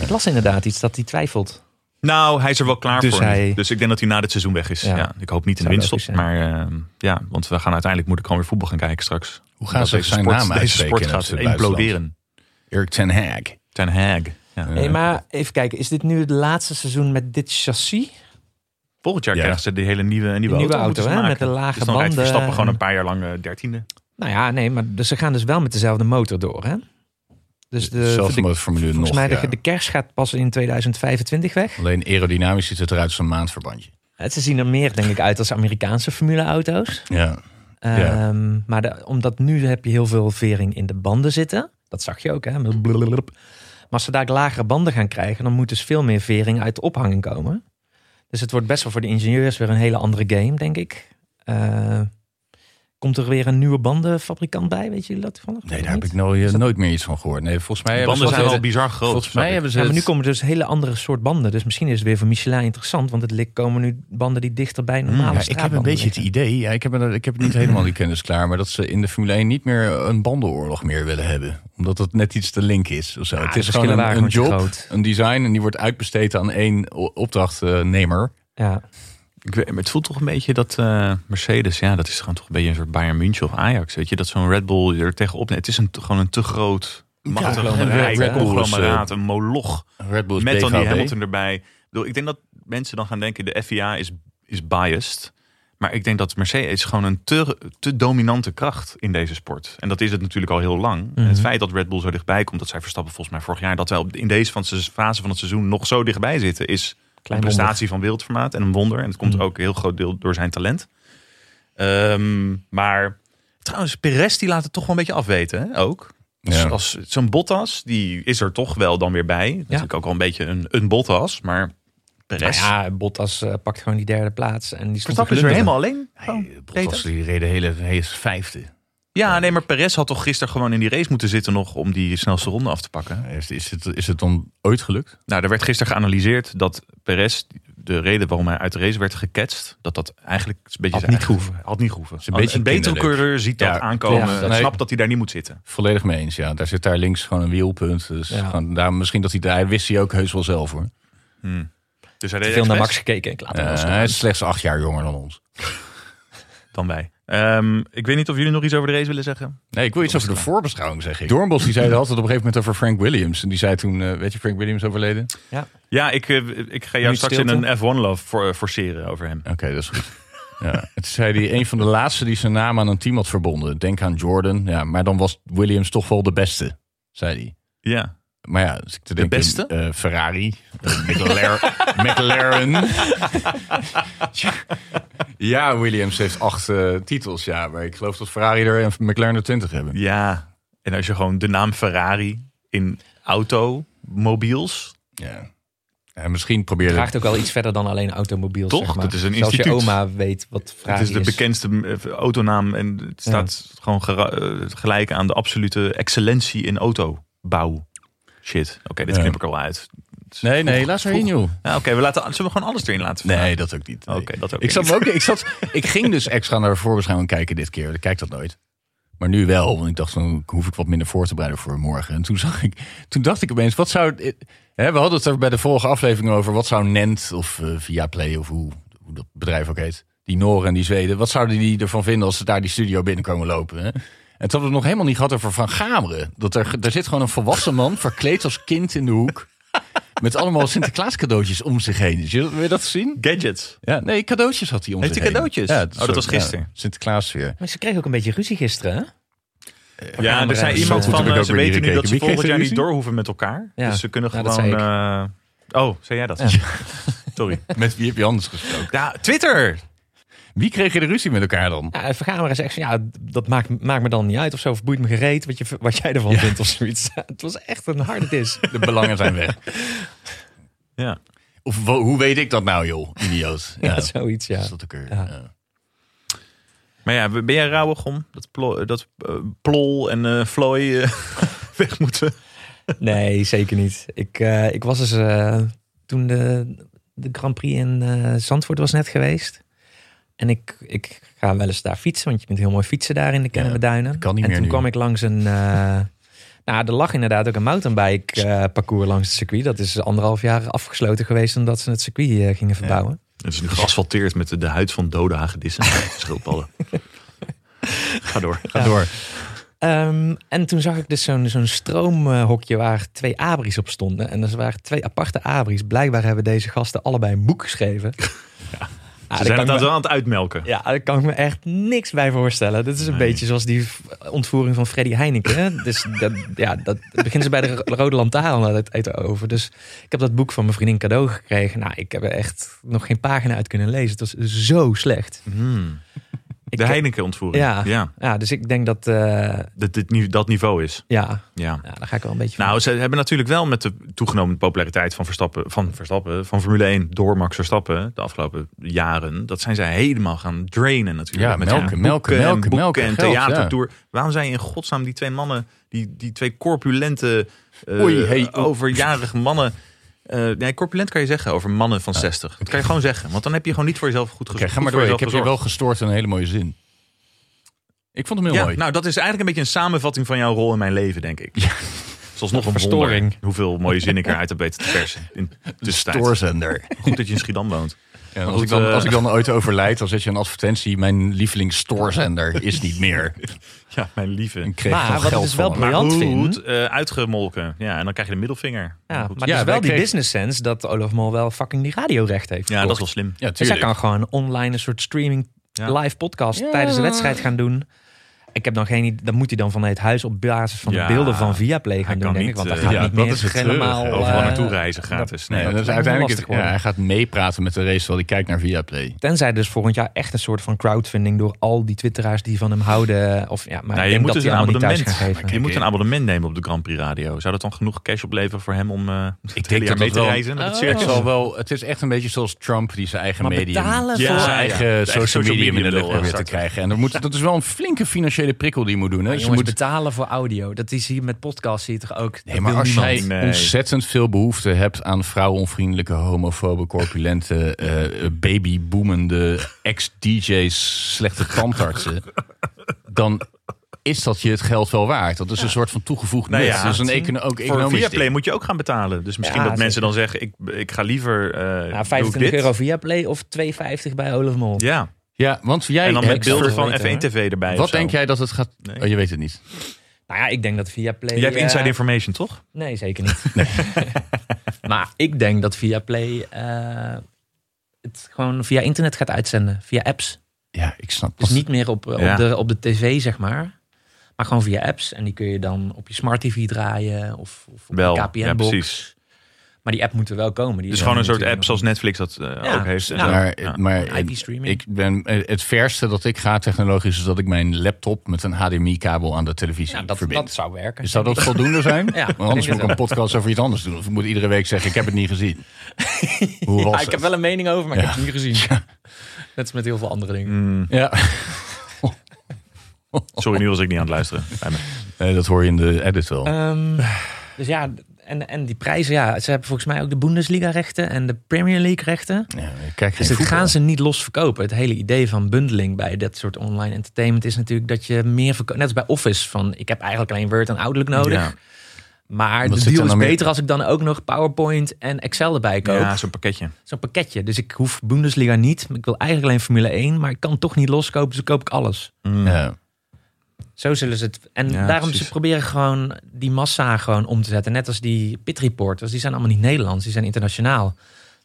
Ik las inderdaad iets dat hij twijfelt. Nou, hij is er wel klaar Dus voor. nu. hij- Dus ik denk dat hij na dit seizoen weg is. Ja. Ja. ik hoop niet in de Zou winst logisch Maar eh, ja, want we gaan uiteindelijk moet ik gewoon weer voetbal gaan kijken straks. Hoe gaan Omdat ze deze zijn sport- naam Deze uitspreken sport in gaat het buitenland? imploderen. Erik ten Hag. Ten Hag. Ja. Nee, maar even kijken. Is dit nu het laatste seizoen met dit chassis? Volgend jaar Ja. krijgen ze die hele nieuwe, nieuwe, nieuwe auto, auto, moeten ze hè, maken. met de lage dus dan rijdt banden Verstappen gewoon en- een paar jaar lang eh, dertiende. Nou ja, nee, maar dus ze gaan dus wel met dezelfde motor door, hè? Dus de, Zelfs de- met Formule volgens nog, mij de, ja. de kers gaat pas in 2025 weg. Alleen aerodynamisch ziet het eruit als een maandverbandje. Het- Ze zien er meer, denk ik, uit als Amerikaanse formuleauto's. Ja. Ja. Ehm Maar de- omdat nu heb je heel veel vering in de banden zitten. Dat zag je ook, hè? met blulululup. Maar als ze daar lagere banden gaan krijgen, dan moet dus veel meer vering uit de ophanging komen. Dus het wordt best wel voor de ingenieurs weer een hele andere game, denk ik. Eh, komt er weer een nieuwe bandenfabrikant bij? Weet jullie dat toevallig? Nee, Of daar heb niet? ik nooit, eh, nooit meer iets van gehoord. Nee, volgens mij De hebben banden ze- zijn wel bizar groot. Volgens snap mij ik. hebben ze Ja, maar nu het- komen dus hele andere soort banden. Dus misschien is het weer voor Michelin interessant. Want het li- komen nu banden die dichter bij normale Hmm, Ja, ik heb straatbanden een beetje het liggen. idee, ja, ik, heb, er- ik heb (clears throat) niet helemaal die kennis klaar, maar dat ze in de Formule 1 niet meer eh, een bandenoorlog meer willen hebben. Omdat dat net iets te link is. Of zo. het de is gewoon verschillen een, waren een gewoon job, te groot. een design en die wordt uitbesteed aan één o- opdrachtnemer. Ja. Ik weet- maar het voelt toch een beetje dat eh, Mercedes, ja, dat is gewoon toch een beetje een soort Bayern München of Ajax. Weet je, dat zo'n Red Bull er tegenop neemt. Het is een, te- gewoon een te groot, machtig, conglomeraat, rijk hè? conglomeraat, een moloch. Red Bull is Met dan die BVB. Hamilton erbij. Ik, bedoel, ik denk dat mensen dan gaan denken, de FIA is, is biased. Maar ik denk dat Mercedes is gewoon een te, te dominante kracht in deze sport. En dat is het natuurlijk al heel lang. En Het feit dat Red Bull zo dichtbij komt, dat zij Verstappen volgens mij vorig jaar... dat wij op- in deze van se- fase van het seizoen nog zo dichtbij zitten... is Klein een prestatie van wereldformaat en een wonder. En het komt Mm. ook een heel groot deel door zijn talent. Ehm, maar trouwens, Perez die laat het toch wel een beetje afweten hè? ook. Dus Ja. als zo'n Bottas, die is er toch wel dan weer bij. Natuurlijk ook wel een beetje een, een Bottas, maar Perez. Nou ja, Bottas eh, pakt gewoon die derde plaats. En die stond Verstappen te is weer glunderen. helemaal alleen. Nee, Oh, Bottas Peter. die reden hele, hele vijfde. Ja, nee, maar Perez had toch gisteren gewoon in die race moeten zitten nog om die snelste ronde af te pakken. Is, is, het, is het dan ooit gelukt? Nou, er werd gisteren geanalyseerd dat Perez, de reden waarom hij uit de race werd geketst, dat dat eigenlijk een beetje Had niet gehoeven. Oh, Had niet gehoeven. een Een, beetje een betere kinderlijk. coureur ziet Ja, dat aankomen. klopt. Dat Nee. snapt dat hij daar niet moet zitten. Volledig mee eens, ja. Daar zit daar links gewoon een wielpunt. Dus Ja. gewoon daar, misschien dat hij daar wist hij ook heus wel zelf hoor. Dus hij Te deed veel naar expres. Max gekeken. Ik laat hem Eh, wel hij staan. is slechts acht jaar jonger dan ons. dan wij. Ehm, ik weet niet of jullie nog iets over de race willen zeggen. Nee, ik wil iets over de voorbeschouwing zeggen. Doornbos die (laughs) zei er altijd op een gegeven moment over Frank Williams. En die zei toen, eh, weet je, Frank Williams overleden? Oké, Ja, ik, eh, ik ga jou Nu straks stilte. in een F1 love for, eh, forceren over hem. dat is goed. (laughs) Ja. Het zei hij een van de laatste die zijn naam aan een team had verbonden. Denk aan Jordan. Ja, maar dan was Williams toch wel de beste, zei hij. Ja. Maar ja, als ik te denken, beste? eh, Ferrari, eh, (laughs) McLaren. McLaren. (laughs) ja, Williams heeft acht eh, titels, ja. Maar ik geloof dat Ferrari er en McLaren er twintig hebben. Ja. En als je gewoon de naam Ferrari in automobiels Ja. En misschien probeerde vraagt ook wel iets verder dan alleen automobiel. Toch? Zeg maar. Dat is een Zelfs instituut. je oma weet wat vraag Het is de bekendste eh, autonaam en het staat gewoon gera- eh, gelijk aan de absolute excellentie in autobouw. Shit. Oké, dit Ja. knip ik al uit. Het is Nee, nee, vroeg. laat ze heen, joh. Ja, Oké, we laten, zullen we gewoon alles erin laten vallen? Nee, dat ook niet. Nee. Oké, dat ook ik, zat niet. me ook, ik, zat, ik ging dus extra naar de voorbeschouwing kijken dit keer. Ik kijk dat nooit. Maar nu wel, want ik dacht, dan hoef ik wat minder voor te bereiden voor morgen. En toen, zag ik, toen dacht ik opeens, wat zou... eh, Hè, we hadden het er bij de vorige aflevering over. Wat zou Nent of eh, Viaplay of hoe, hoe dat bedrijf ook heet. Die Noren en die Zweden. Wat zouden die ervan vinden als ze daar die studio binnenkomen lopen? Hè? En toen hadden we het nog helemaal niet gehad over Van Gameren. Dat er, er zit gewoon een volwassen man verkleed als kind in de hoek. Met allemaal Sinterklaas cadeautjes om zich heen. Is je- Wil je dat zien? Gadgets. Ja, nee, cadeautjes had hij om Heeft zich hij heen. cadeautjes? Ja, Oh, dat soort- was gisteren. ja, Sinterklaas weer. Maar ze kregen ook een beetje ruzie gisteren, hè? Ja, er Camera zei is, iemand eh, van, heb ik eh, ook ze weer niet weten gekeken. nu dat ze Wie kreeg volgend jaar er niet ruzie? door hoeven met elkaar. Ja. Dus ze kunnen Ja, gewoon... dat eh, oh, zei jij dat? (laughs) Sorry. (laughs) Met wie heb je anders gesproken? Ja, Twitter! Wie kreeg je de ruzie met elkaar dan? Ja, en Vergameren zegt van ja, dat maakt, maakt me dan niet uit of zo. Of boeit me gereed wat, je, wat jij ervan vindt of zoiets. (laughs) Het was echt een harde dis. De belangen zijn weg. Ja. Of wo- hoe weet ik dat nou, joh? Idioot. Ja, Ja, dat (laughs) zoiets, ja. Dus is dat ook weer. Ja. ja. Maar ja, ben jij rauwig om dat, plo- dat eh, plol en eh flooi eh, (laughs) weg moeten? (laughs) Nee, zeker niet. Ik, eh, ik was dus eh, toen de, de Grand Prix in eh, Zandvoort was net geweest. En ik, ik ga wel eens daar fietsen, want je kunt heel mooi fietsen daar in de Kennemerduinen. kan niet en meer toen nu. kwam ik langs een... eh, (laughs) nou, er lag inderdaad ook een mountainbike eh, parcours langs het circuit. Dat is anderhalf jaar afgesloten geweest omdat ze het circuit eh, gingen verbouwen. Het is nu geasfalteerd met de, de huid van dode (laughs) hagedissen. Schildpadden. Ga door. Ah, Ga door. Ehm, en toen zag ik dus zo'n zo'n stroomhokje waar twee abris op stonden. En er waren twee aparte abris. Blijkbaar hebben deze gasten allebei een boek (laughs) geschreven. Ja. Ah, Ze daar zijn kan het ik nou me- wel aan het uitmelken. ja, daar kan ik me echt niks bij voorstellen. Dit is een Nee. beetje zoals die v- ontvoering van Freddy Heineken. (laughs) hè. dus dat, ja, dat beginnen ze bij de Ro- Rode Lantaarn het eten over. Dus ik heb dat boek van mijn vriendin cadeau gekregen. Nou, ik heb er echt nog geen pagina uit kunnen lezen. Het was zo slecht. Hmm. Ik- De Heineken-ontvoering. Ja. Ja, dus ik denk dat... eh, Dat, dit, ni- dat niveau is. ja, Ja. ja, daar ga ik wel een beetje van. Nou, ze hebben natuurlijk wel met de toegenomen populariteit van Verstappen, van Verstappen, van Formule 1 door Max Verstappen de afgelopen jaren, dat zijn zij helemaal gaan drainen natuurlijk. Ja, met melken, boeken melken, en melken, boeken melken, en geld, ja. theatertour. Waarom zijn in godsnaam die twee mannen, die, die twee corpulente, eh, Oei, hey, oei. overjarige mannen, eh, nee, corpulent kan je zeggen over mannen van 60. Dat kan je gewoon zeggen, want dan heb je gewoon niet voor jezelf goed Oké, gezorgd. ga maar goed door. voor Ik heb je jezelf wel gestoord in een hele mooie zin. Ik vond hem heel ja, mooi. nou, dat is eigenlijk een beetje een samenvatting van jouw rol in mijn leven, denk ik. Ja. Zoals nog een Verstoring. wonder hoeveel mooie zin ik eruit heb weten te persen. (laughs) In de tussentijd. (laughs) Stoorzender. Goed dat je in Schiedam woont. Ja, als, Goed, ik dan, eh, als ik dan ooit overlijd, dan zet je een advertentie. Mijn lievelingsstoorzender is niet meer. Ja, mijn lieve. En kreeg Maar gewoon wat ik geld dus wel van hem. Maar Briljant goed, vind. eh, uitgemolken. Ja, en dan krijg je de middelvinger. Nou, Ja, Goed. maar Ja, het wij is wel die kregen- business sense dat Olaf Mol wel fucking die radiorecht heeft. ja dat is verkocht. wel slim. Ja, Dus hij tuurlijk. kan gewoon online een soort streaming Ja. live podcast tijdens de wedstrijd gaan doen. Ik heb dan geen idee, dat moet hij dan vanuit huis op basis van Ja, de beelden van Viaplay gaan hij doen, kan denk ik. niet, Want dat eh, gaat ja, niet dat meer is het treurige. helemaal... Overal eh, naartoe reizen gratis. Nee, Nee, dat dat- is lijkt me uiteindelijk lastig het- ja, worden. hij gaat meepraten met de race terwijl hij kijkt naar Viaplay. Tenzij dus volgend jaar echt een soort van crowdfunding door al die twitteraars die van hem houden. eh, Of, ja, maar Nou, ik je denk moet dat dus die een allemaal niet thuis abonnement. gaan geven. Je moet Oké. een abonnement nemen op de Grand Prix Radio. Zou dat dan genoeg cash opleveren voor hem om eh het hele denk jaar dat mee dat te wel- reizen? Met het Oh. Het circus? zal wel, het is echt een beetje zoals Trump die zijn eigen Maar medium, betalen Ja, zijn voor... ja. eigen eigen social social media in de media lucht probeert te starten. krijgen. En er moet, dat is wel een flinke financiële prikkel die je moet doen. Hè? Dus je Jongens, moet, betalen voor audio. Dat is hier met podcast zie je toch ook. nee, maar als jij niemand. Nee. ontzettend veel behoefte hebt aan vrouwonvriendelijke, homofobe, corpulente, eh babyboemende ex-DJ's, slechte tandartsen, dan is dat je het geld wel waard. Dat is een soort van toegevoegd Nou nut. ja, dat is een econo ook Voor economisch Viaplay ding. moet je ook gaan betalen. Dus misschien Ja, dat mensen dan zeker. zeggen, ik, ik ga liever... eh, doe Nou, ik 25 dit. euro Viaplay of 2,50 bij Olaf Mol. Ja, Ja, want jij en dan met hebt- wil- beelden van weten, F1 hoor. TV erbij. of Wat zo. denk jij dat het gaat... Nee. Oh, je weet het niet. Nou ja, ik denk dat Viaplay... Jij hebt eh, inside information, toch? Nee, zeker niet. (laughs) maar ik denk dat Viaplay eh het gewoon via internet gaat uitzenden. Via apps. Ja, ik snap Dus niet meer op, eh, op, Ja. de, op de tv, zeg maar. Maar gewoon via apps. En die kun je dan op je smart tv draaien. Of, of op Wel, je ja, KPN-box. precies. Maar die app moet er wel komen. Die Dus is gewoon een er soort app natuurlijk zoals Netflix dat eh, Ja, ook heeft. en ja. zo. maar, Ja. maar nog. IP-streaming. ik ben, eh, het verste dat ik ga technologisch is dat ik mijn laptop met een HDMI-kabel aan de televisie Ja, dat, verbind. dat zou werken. Is dat dat voldoende zijn? (laughs) Ja, Want anders ik denk moet ik een het wel. podcast over iets anders doen. Of ik moet iedere week zeggen, ik heb het niet (laughs) gezien. Hoe was Ja, het? Ah, ik heb wel een mening over, maar ik Ja. heb het niet (laughs) gezien. Net als met heel veel andere dingen. Ja, Mm, Sorry, nu was ik niet aan het luisteren. Bij me. Nee, dat hoor je in de edit wel. Ehm, dus ja, en, en die prijzen, ja, ze hebben volgens mij ook de Bundesliga-rechten en de Premier League-rechten. Ja, ik kijk geen Dus dat voetbal. gaan ze niet los verkopen. Het hele idee van bundeling bij dat soort online entertainment is natuurlijk dat je meer verkoopt. Net als bij Office, van ik heb eigenlijk alleen Word en Outlook nodig. Ja. Maar Wat de zit deal er is nou meer- beter als ik dan ook nog PowerPoint en Excel erbij koop. Ja, zo'n pakketje. Zo'n pakketje. Dus ik hoef Bundesliga niet. Ik wil eigenlijk alleen Formule 1, maar ik kan toch niet loskopen, dus dan koop ik alles. Mm. Ja. Zo zullen ze het. En Ja, daarom precies. ze proberen gewoon die massa gewoon om te zetten. Net als die pit reporters. Die zijn allemaal niet Nederlands, die zijn internationaal.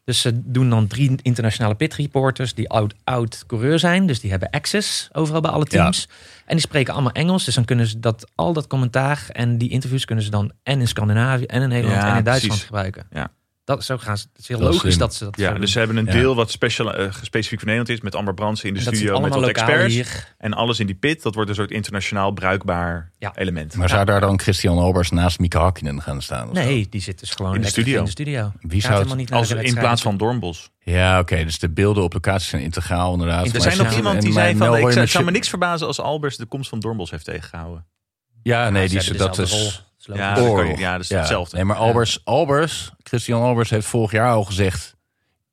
Dus ze doen dan drie internationale pit reporters die oud, oud coureur zijn. Dus die hebben access overal bij alle teams. En die spreken allemaal Engels. Dus dan kunnen ze dat, al dat commentaar en die interviews kunnen ze dan en in Scandinavië en in Nederland Ja, en in Duitsland precies. gebruiken. Ja. Dat, zo gaan ze, het is heel Dat is logisch slim. dat ze dat Ja, zo dus doen. ze hebben een Ja. deel wat special, eh, specifiek voor Nederland is. Met Amber Brandsen in de En dat zit studio, met allemaal wat lokaal experts. hier. En alles in die pit, dat wordt een soort internationaal bruikbaar Ja. Nou, element. Maar zou daar dan Christian Albers naast Mieke Hakkinen gaan staan? of zo? Nee, die zit dus gewoon In de lekker studio. in de studio. Gaat zou het- helemaal niet naar Als de in wedstrijd. plaats van Dornbos. Ja, oké. dus de beelden op locatie zijn integraal inderdaad. Er Maar Er zijn ze- nog iemand die en zei mijn van, Melbourne ik zou, Machine- zou me niks verbazen als Albers de komst van Dornbos heeft tegengehouden. Ja, nee, Ja, die, Ah, ze hebben dat dezelfde rol. is... Dat is logisch. Ja, dat kan oorlog. je- ja, dat is hetzelfde. Nee, maar Albers, Albers, Christian Albers heeft vorig jaar al gezegd,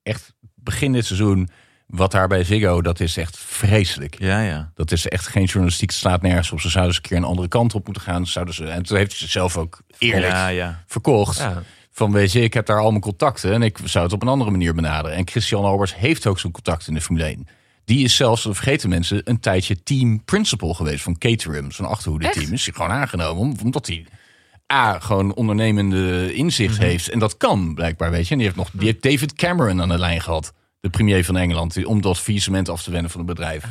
echt begin dit seizoen, wat daar bij Ziggo, dat is echt vreselijk. Ja, ja. Dat is echt geen journalistiek, het slaat nergens op. Ze zouden eens een keer een andere kant op moeten gaan. Zouden ze, en toen heeft hij zichzelf ook eerlijk Ja, ja. verkocht. Ja. Van weet je, ik heb daar al mijn contacten en ik zou het op een andere manier benaderen. En Christian Albers heeft ook zo'n contact in de Formule 1. Die is zelfs, dat vergeten mensen, een tijdje team principal geweest van Caterham. Zo'n achterhoede team is hij gewoon aangenomen. om- Omdat hij A, gewoon ondernemende inzicht heeft. En dat kan blijkbaar, weet je. En die heeft nog die heeft David Cameron aan de lijn gehad. De premier van Engeland. die- Om dat faillissement af te wenden van het bedrijf.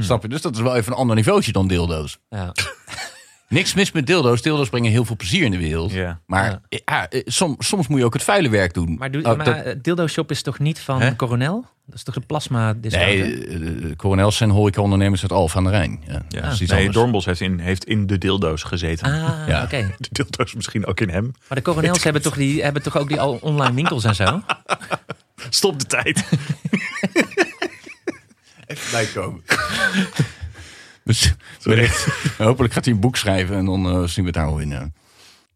Snap je? Dus dat is wel even een ander niveautje dan dildo's. Ja. Niks mis met dildo's. Dildo's brengen heel veel plezier in de wereld. Ja. Maar eh, ja, eh, som- soms moet je ook het vuile werk doen. Maar, doe, Ook maar Oh, dat- eh, Dildo Shop is toch niet van Hè? Coronel? Dat is toch de plasma discounter? nee, eh, eh, coronels zijn horecaondernemers uit Alphen aan de Rijn. Ja, ja. dat is iets nee, anders. Dornbos heeft in, heeft in de dildo's gezeten. Ah, Ja. oké. (laughs) De dildo's misschien ook in hem. Maar de (laughs) Coronels hebben toch, die, hebben toch ook die al online winkels en zo? Stop de tijd. bijkomen. (laughs) dus wellicht- (laughs) hopelijk gaat hij een boek schrijven en dan eh, zien we het daar wel in. eh,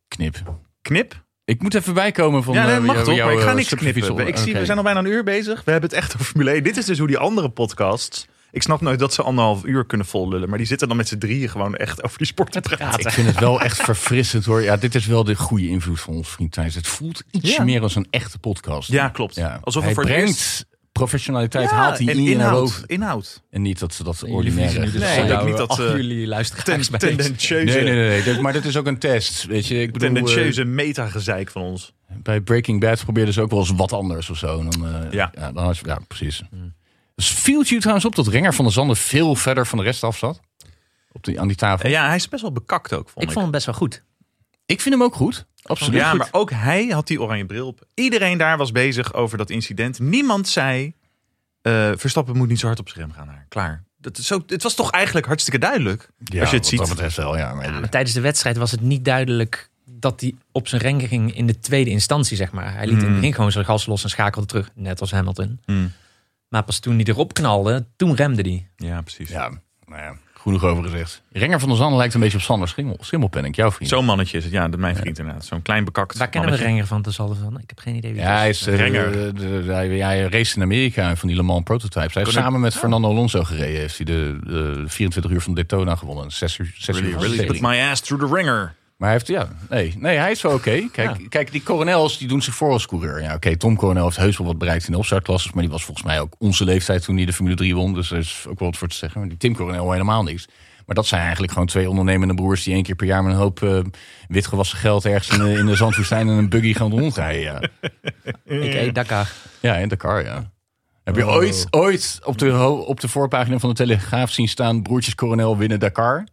knip. (laughs) Knip? Ik moet even bijkomen van. Ja, eh, dat mag jou- toch? jouw, Maar ik ga eh, niks knippen. subtitel. Ik zie, Oké. we zijn al bijna een uur bezig. We hebben het echt over Formule 1. Dit is dus hoe die andere podcasts... Ik snap nooit dat ze anderhalf uur kunnen vollullen. Maar die zitten dan met z'n drieën gewoon echt over die sport te praten. Ik vind het wel echt verfrissend hoor. Ja, dit is wel de goede invloed van ons vriend Thijs. Het voelt iets Ja. meer als een echte podcast. Ja, klopt. Ja. Alsof hij er voor het brengt eerst- professionaliteit, Ja, haalt hij en in en naar inhoud. boven. Inhoud. En niet dat ze dat Jullie verliezen ordinaire... nu dus Nee, al ik denk jouw, niet dat, al eh, jullie luisteraars Ten, bij tendentieuze, Nee, nee, nee, nee. Dat- Maar dat is ook een test. Weet je, ik bedoel, tendentieuze metagezeik van ons. eh, bij Breaking Bad probeerden ze ook wel eens wat anders of zo. En dan, eh, Ja. ja. dan had je, ja, precies. Hmm. Dus viel het je trouwens op dat Renger van der Zanden veel verder van de rest af zat? Op die, aan die tafel. Eh, Ja, hij is best wel bekakt ook, vond ik. Ik vond hem best wel goed. Ik vind hem ook goed. Absoluut. ja, goed. maar ook hij had die oranje bril op. Iedereen daar was bezig over dat incident. Niemand zei, eh, Verstappen moet niet zo hard op zijn rem gaan. Daar. Klaar. Dat is zo, het was toch eigenlijk hartstikke duidelijk. Ja, als je het wat dat ziet. betreft wel, ja. Maar, Maar tijdens de wedstrijd was het niet duidelijk dat hij op zijn renken ging in de tweede instantie, zeg maar. Hij liet in Hmm. het begin gewoon zijn gas los en schakelde terug, net als Hamilton. Hmm. Maar pas toen hij erop knalde, toen remde hij. Ja, precies. ja, nou ja, genoeg over gezegd. Renger van der Zanden lijkt een beetje op Sander Schimmel, Schimmelpenninck, jouw vriend. Zo'n mannetje is het. Ja, dat mijn vriend inderdaad. Zo'n klein bekakt Waar kennen we mannetje. Renger van? Dat zal van. Ik heb geen idee wie Ja, het hij, is. is, eh, Renger. de- de- de- hij, hij race in Amerika van die Le Mans prototypes. Hij heeft Kon ik- samen met Fernando Alonso gereden. Heeft hij de, de 24 uur van Daytona gewonnen. en 6 uur, 6 uur Really, van really Sebring. put my ass through the ringer. Maar hij heeft, ja, nee, nee, hij is wel oké. (laughs) Kijk, kijk, die coronels die doen zich voor als coureur. Ja, oké, Tom Coronel heeft heus wel wat bereikt in de opstartklasses. Maar die was volgens mij ook onze leeftijd toen hij de Formule 3 won. Dus er is ook wel wat voor te zeggen. Maar die Tim Coronel helemaal niks. Maar dat zijn eigenlijk gewoon twee ondernemende broers die één keer per jaar met een hoop eh, witgewassen geld ergens in de, in de zandwoestijn en een buggy gaan rondrijden. Ja. Ik eet Dakar. Ja, in Dakar, ja. Heb je ooit, ooit op, de, ho- op de voorpagina van de Telegraaf zien staan... Broertjes Coronel winnen Dakar?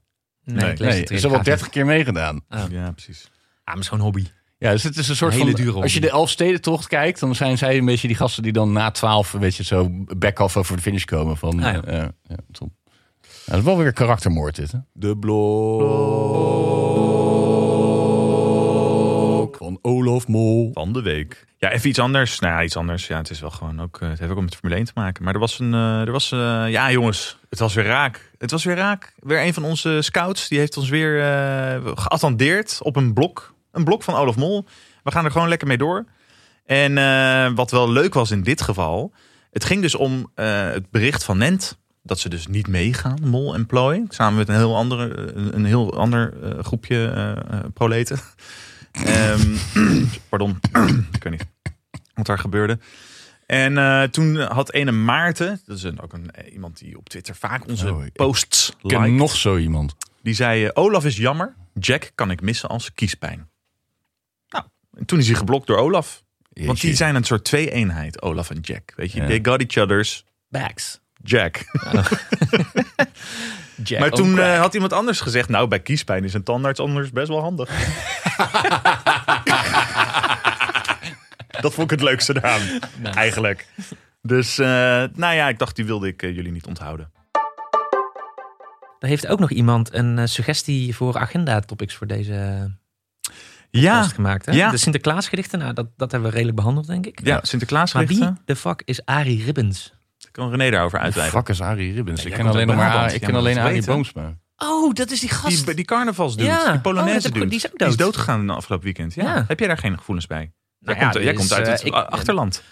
Nee, ik lees Nee, het is al wel graag niet. 30 keer meegedaan. Ja, precies. Ah, maar het is gewoon een hobby. Ja, dus het is een soort Een hele van... dure als je de Elfstedentocht kijkt, dan zijn zij een beetje die gasten die dan na twaalf, weet je, zo back-off over de finish komen. Van, Ah, ja. eh, ja, top. Nou, dat is wel weer karaktermoord dit, hè? De blok van Olaf Mol. Van de week. Ja, even iets anders. Nou ja, iets anders. Ja, het is wel gewoon ook. eh, Het heeft ook met Formule 1 te maken. Maar er was een. eh, er was, eh, ja, jongens. Het was weer raak. Het was weer raak. Weer een van onze scouts. Die heeft ons weer eh, geattendeerd op een blok. Een blok van Olaf Mol. We gaan er gewoon lekker mee door. En eh, wat wel leuk was in dit geval. Het ging dus om eh, het bericht van Nent. Dat ze dus niet meegaan, Mol en Plooi. Samen met een heel, andere, een, een heel ander eh, groepje eh eh, proleten. Ehm, (clears throat) pardon, ik weet niet wat daar gebeurde. En eh, toen had ene Maarten, dat is een, ook een, eh, iemand die op Twitter vaak onze Oh, ik posts Ik ken liked. nog zo iemand. Die zei, eh, Olaf is jammer, Jack kan ik missen als kiespijn. Nou, en toen is hij geblokt door Olaf. Want die Jeetje. zijn een soort twee-eenheid, Olaf en Jack. Weet je, Ja. they got each other's Backs. Jack. Jack maar on toen crack. eh, had iemand anders gezegd, nou, bij kiespijn is een tandarts anders best wel (laughs) handig. dat vond ik het leukste eraan, eigenlijk. Dus, eh, nou ja, ik dacht, die wilde ik eh, jullie niet onthouden. Er heeft ook nog iemand een eh, suggestie voor agenda-topics voor deze Ja, podcast gemaakt. Hè? ja. De Sinterklaasgedichten, nou, dat, dat hebben we redelijk behandeld, denk ik. ja Sinterklaas Maar wie richten. de fuck is Arie Ribbons? Kan René daarover uitweiden? Fuck is Arie Ribbons. Ja, ik jij ken komt alleen nog uit maar Brabant. ik Ja, ken maar alleen dat Arie weet, hè? Boomsma. Oh, dat is die gast. Die, die carnavalsdude, Ja. die Oh, dat Polonaise heb ik- dude. die is ook Die is dood. doodgegaan de afgelopen weekend. Ja. Ja. Heb jij daar geen gevoelens bij? Nou jij komt, ja, jij dus, komt uit eh, het ik- achterland.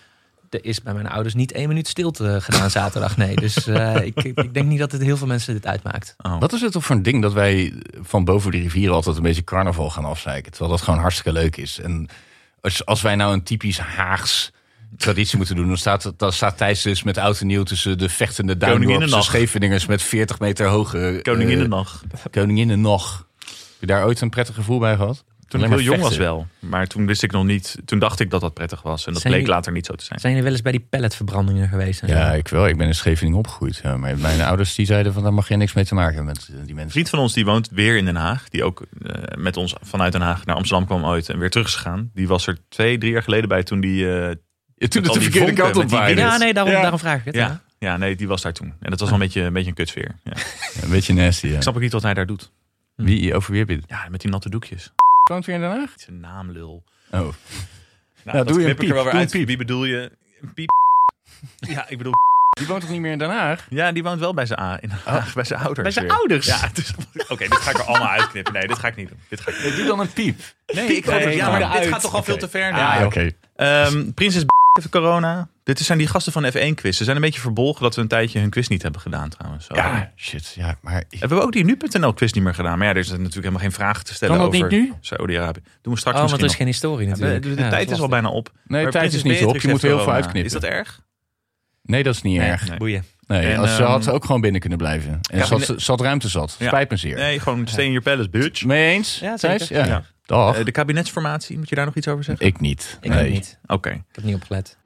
Er is bij mijn ouders niet één minuut stilte eh, gedaan zaterdag. Nee, (laughs) dus eh, ik, ik denk niet dat het heel veel mensen dit uitmaakt. Oh. Wat is het toch voor een ding dat wij van boven de rivieren altijd een beetje carnaval gaan afzeiken? Terwijl dat gewoon hartstikke leuk is. En als, als wij nou een typisch Haags traditie moeten doen, dan staat, dan staat Thijs dus met oud en nieuw tussen de vechtende Duindorpse Koninginnennacht. Scheveningers met 40 meter hoge Koningin de eh, nacht. koninginnen nog. Heb je daar ooit een prettig gevoel bij gehad? Toen ik heel jong was wel. Maar toen wist ik nog niet. Toen dacht ik dat dat prettig was. En dat Zijn bleek jullie- later niet zo te zijn. Zijn jullie wel eens bij die palletverbrandingen geweest? en zo? Ja, ik wel. Ik ben in Scheveningen opgegroeid. Ja, maar mijn ouders die zeiden van daar mag je niks mee te maken hebben met eh, die Een mensen. vriend van ons die woont weer in Den Haag. Die ook eh, met ons vanuit Den Haag naar Amsterdam kwam ooit. En weer terug is gegaan. Die was er twee, drie jaar geleden bij toen die... eh, toen het de verkeerde kant op waaide. ja nee, daarom, Ja. Ah. daarom vraag ik het. Ja. ja, ja, nee, die was daar toen. En dat was wel een beetje een, beetje een kutsfeer. Ja. Ik Een beetje nasty, ja. snap ook niet wat hij daar doet. Wie, over wie heb je het? Ja, met die natte doekjes. Woont weer in Den Haag? Zijn naamlul. Oh. Nou, doe je knip een ik piep, er wel weer doe uit. een piep. Wie bedoel je? Een piep? Ja, ik bedoel... Die woont toch niet meer in Den Haag? Ja, die woont wel bij zijn, a- in Den Haag, bij zijn ouders. Oh. Bij zijn weer. ouders? Ja, het is- oké, dit ga ik er allemaal uitknippen. Nee, dit ga ik niet doen. Dit ga ik niet doen. Doe dan een piep. Nee, ik ga Nee, ja, maar maar dit uit. gaat toch al Oké. veel te ver. Ah, Ja. oké. Ehm, (laughs) Prinses B heeft corona. Dit zijn die gasten van F1-quiz. Ze zijn een beetje verbolgen dat we een tijdje hun quiz niet hebben gedaan trouwens. Zo. Ja, shit. Ja, maar... ik- Hebben we ook die nu.nl-quiz niet meer gedaan? Maar ja, er is natuurlijk helemaal geen vragen te stellen Kan dat over niet nu? Saudi-Arabië. Doen we straks Oh, want er misschien is geen historie nog. De, natuurlijk. de- de Ja, dat tijd is al lastig. bijna op. Nee, Maar tijd is Prinses niet op. Beatrix Je moet heeft heel veel corona. uitknippen. Is dat erg? Nee, dat is niet erg. nee. Boeien. Nee, En, als ze ehm, had ook gewoon binnen kunnen blijven. En Ja, ze had, binnen- ze had ruimte zat. Ja. Spijt me zeer. Nee, gewoon stay in your palace, bitch. Mee eens, Ja, Thijs? zeker. Ja. Ja. Dag. Eh, de kabinetsformatie, moet je daar nog iets over zeggen? ik niet. Ik nee. ook niet. Oké. Ik heb niet opgelet.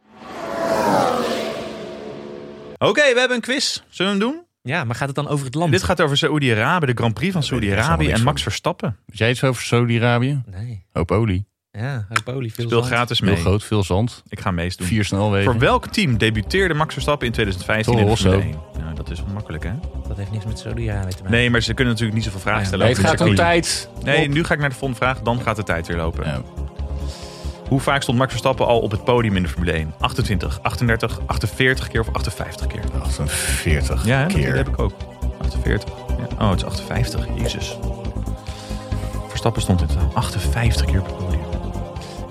Oké, we hebben een quiz. Zullen we hem doen? Ja, maar gaat het dan over het land? Dit gaat over Saoedi-Arabië, de Grand Prix van weet ik echt Saoedi-Arabië helemaal en niks Max van. Verstappen. Weet jij iets over Saudi-Arabië? Nee. Hoop olie. Ja, ook olie. Veel Speel zand. gratis Heel mee. groot, veel zand. Ik ga meedoen. Vier Voor snelwegen. welk team debuteerde Max Verstappen in 2015 in de Toro Formule 1? Nou, dat is onmakkelijk, hè? Dat heeft niks met Saudi-Arabië te maken. Nee, maar ze kunnen natuurlijk niet zoveel vragen stellen. Nee, het over gaat om dit circuit. tijd. Nee, nu ga ik naar de volgende vraag. Dan gaat de tijd weer lopen. Ja. Hoe vaak stond Max Verstappen al op het podium in de Formule 1? 28, 38, 48 keer of 58 keer? 48 Ja, hè, dat idee keer. heb ik ook. 48. Ja. Oh, het is 58. Jezus. Verstappen stond in totaal 58 keer op het podium.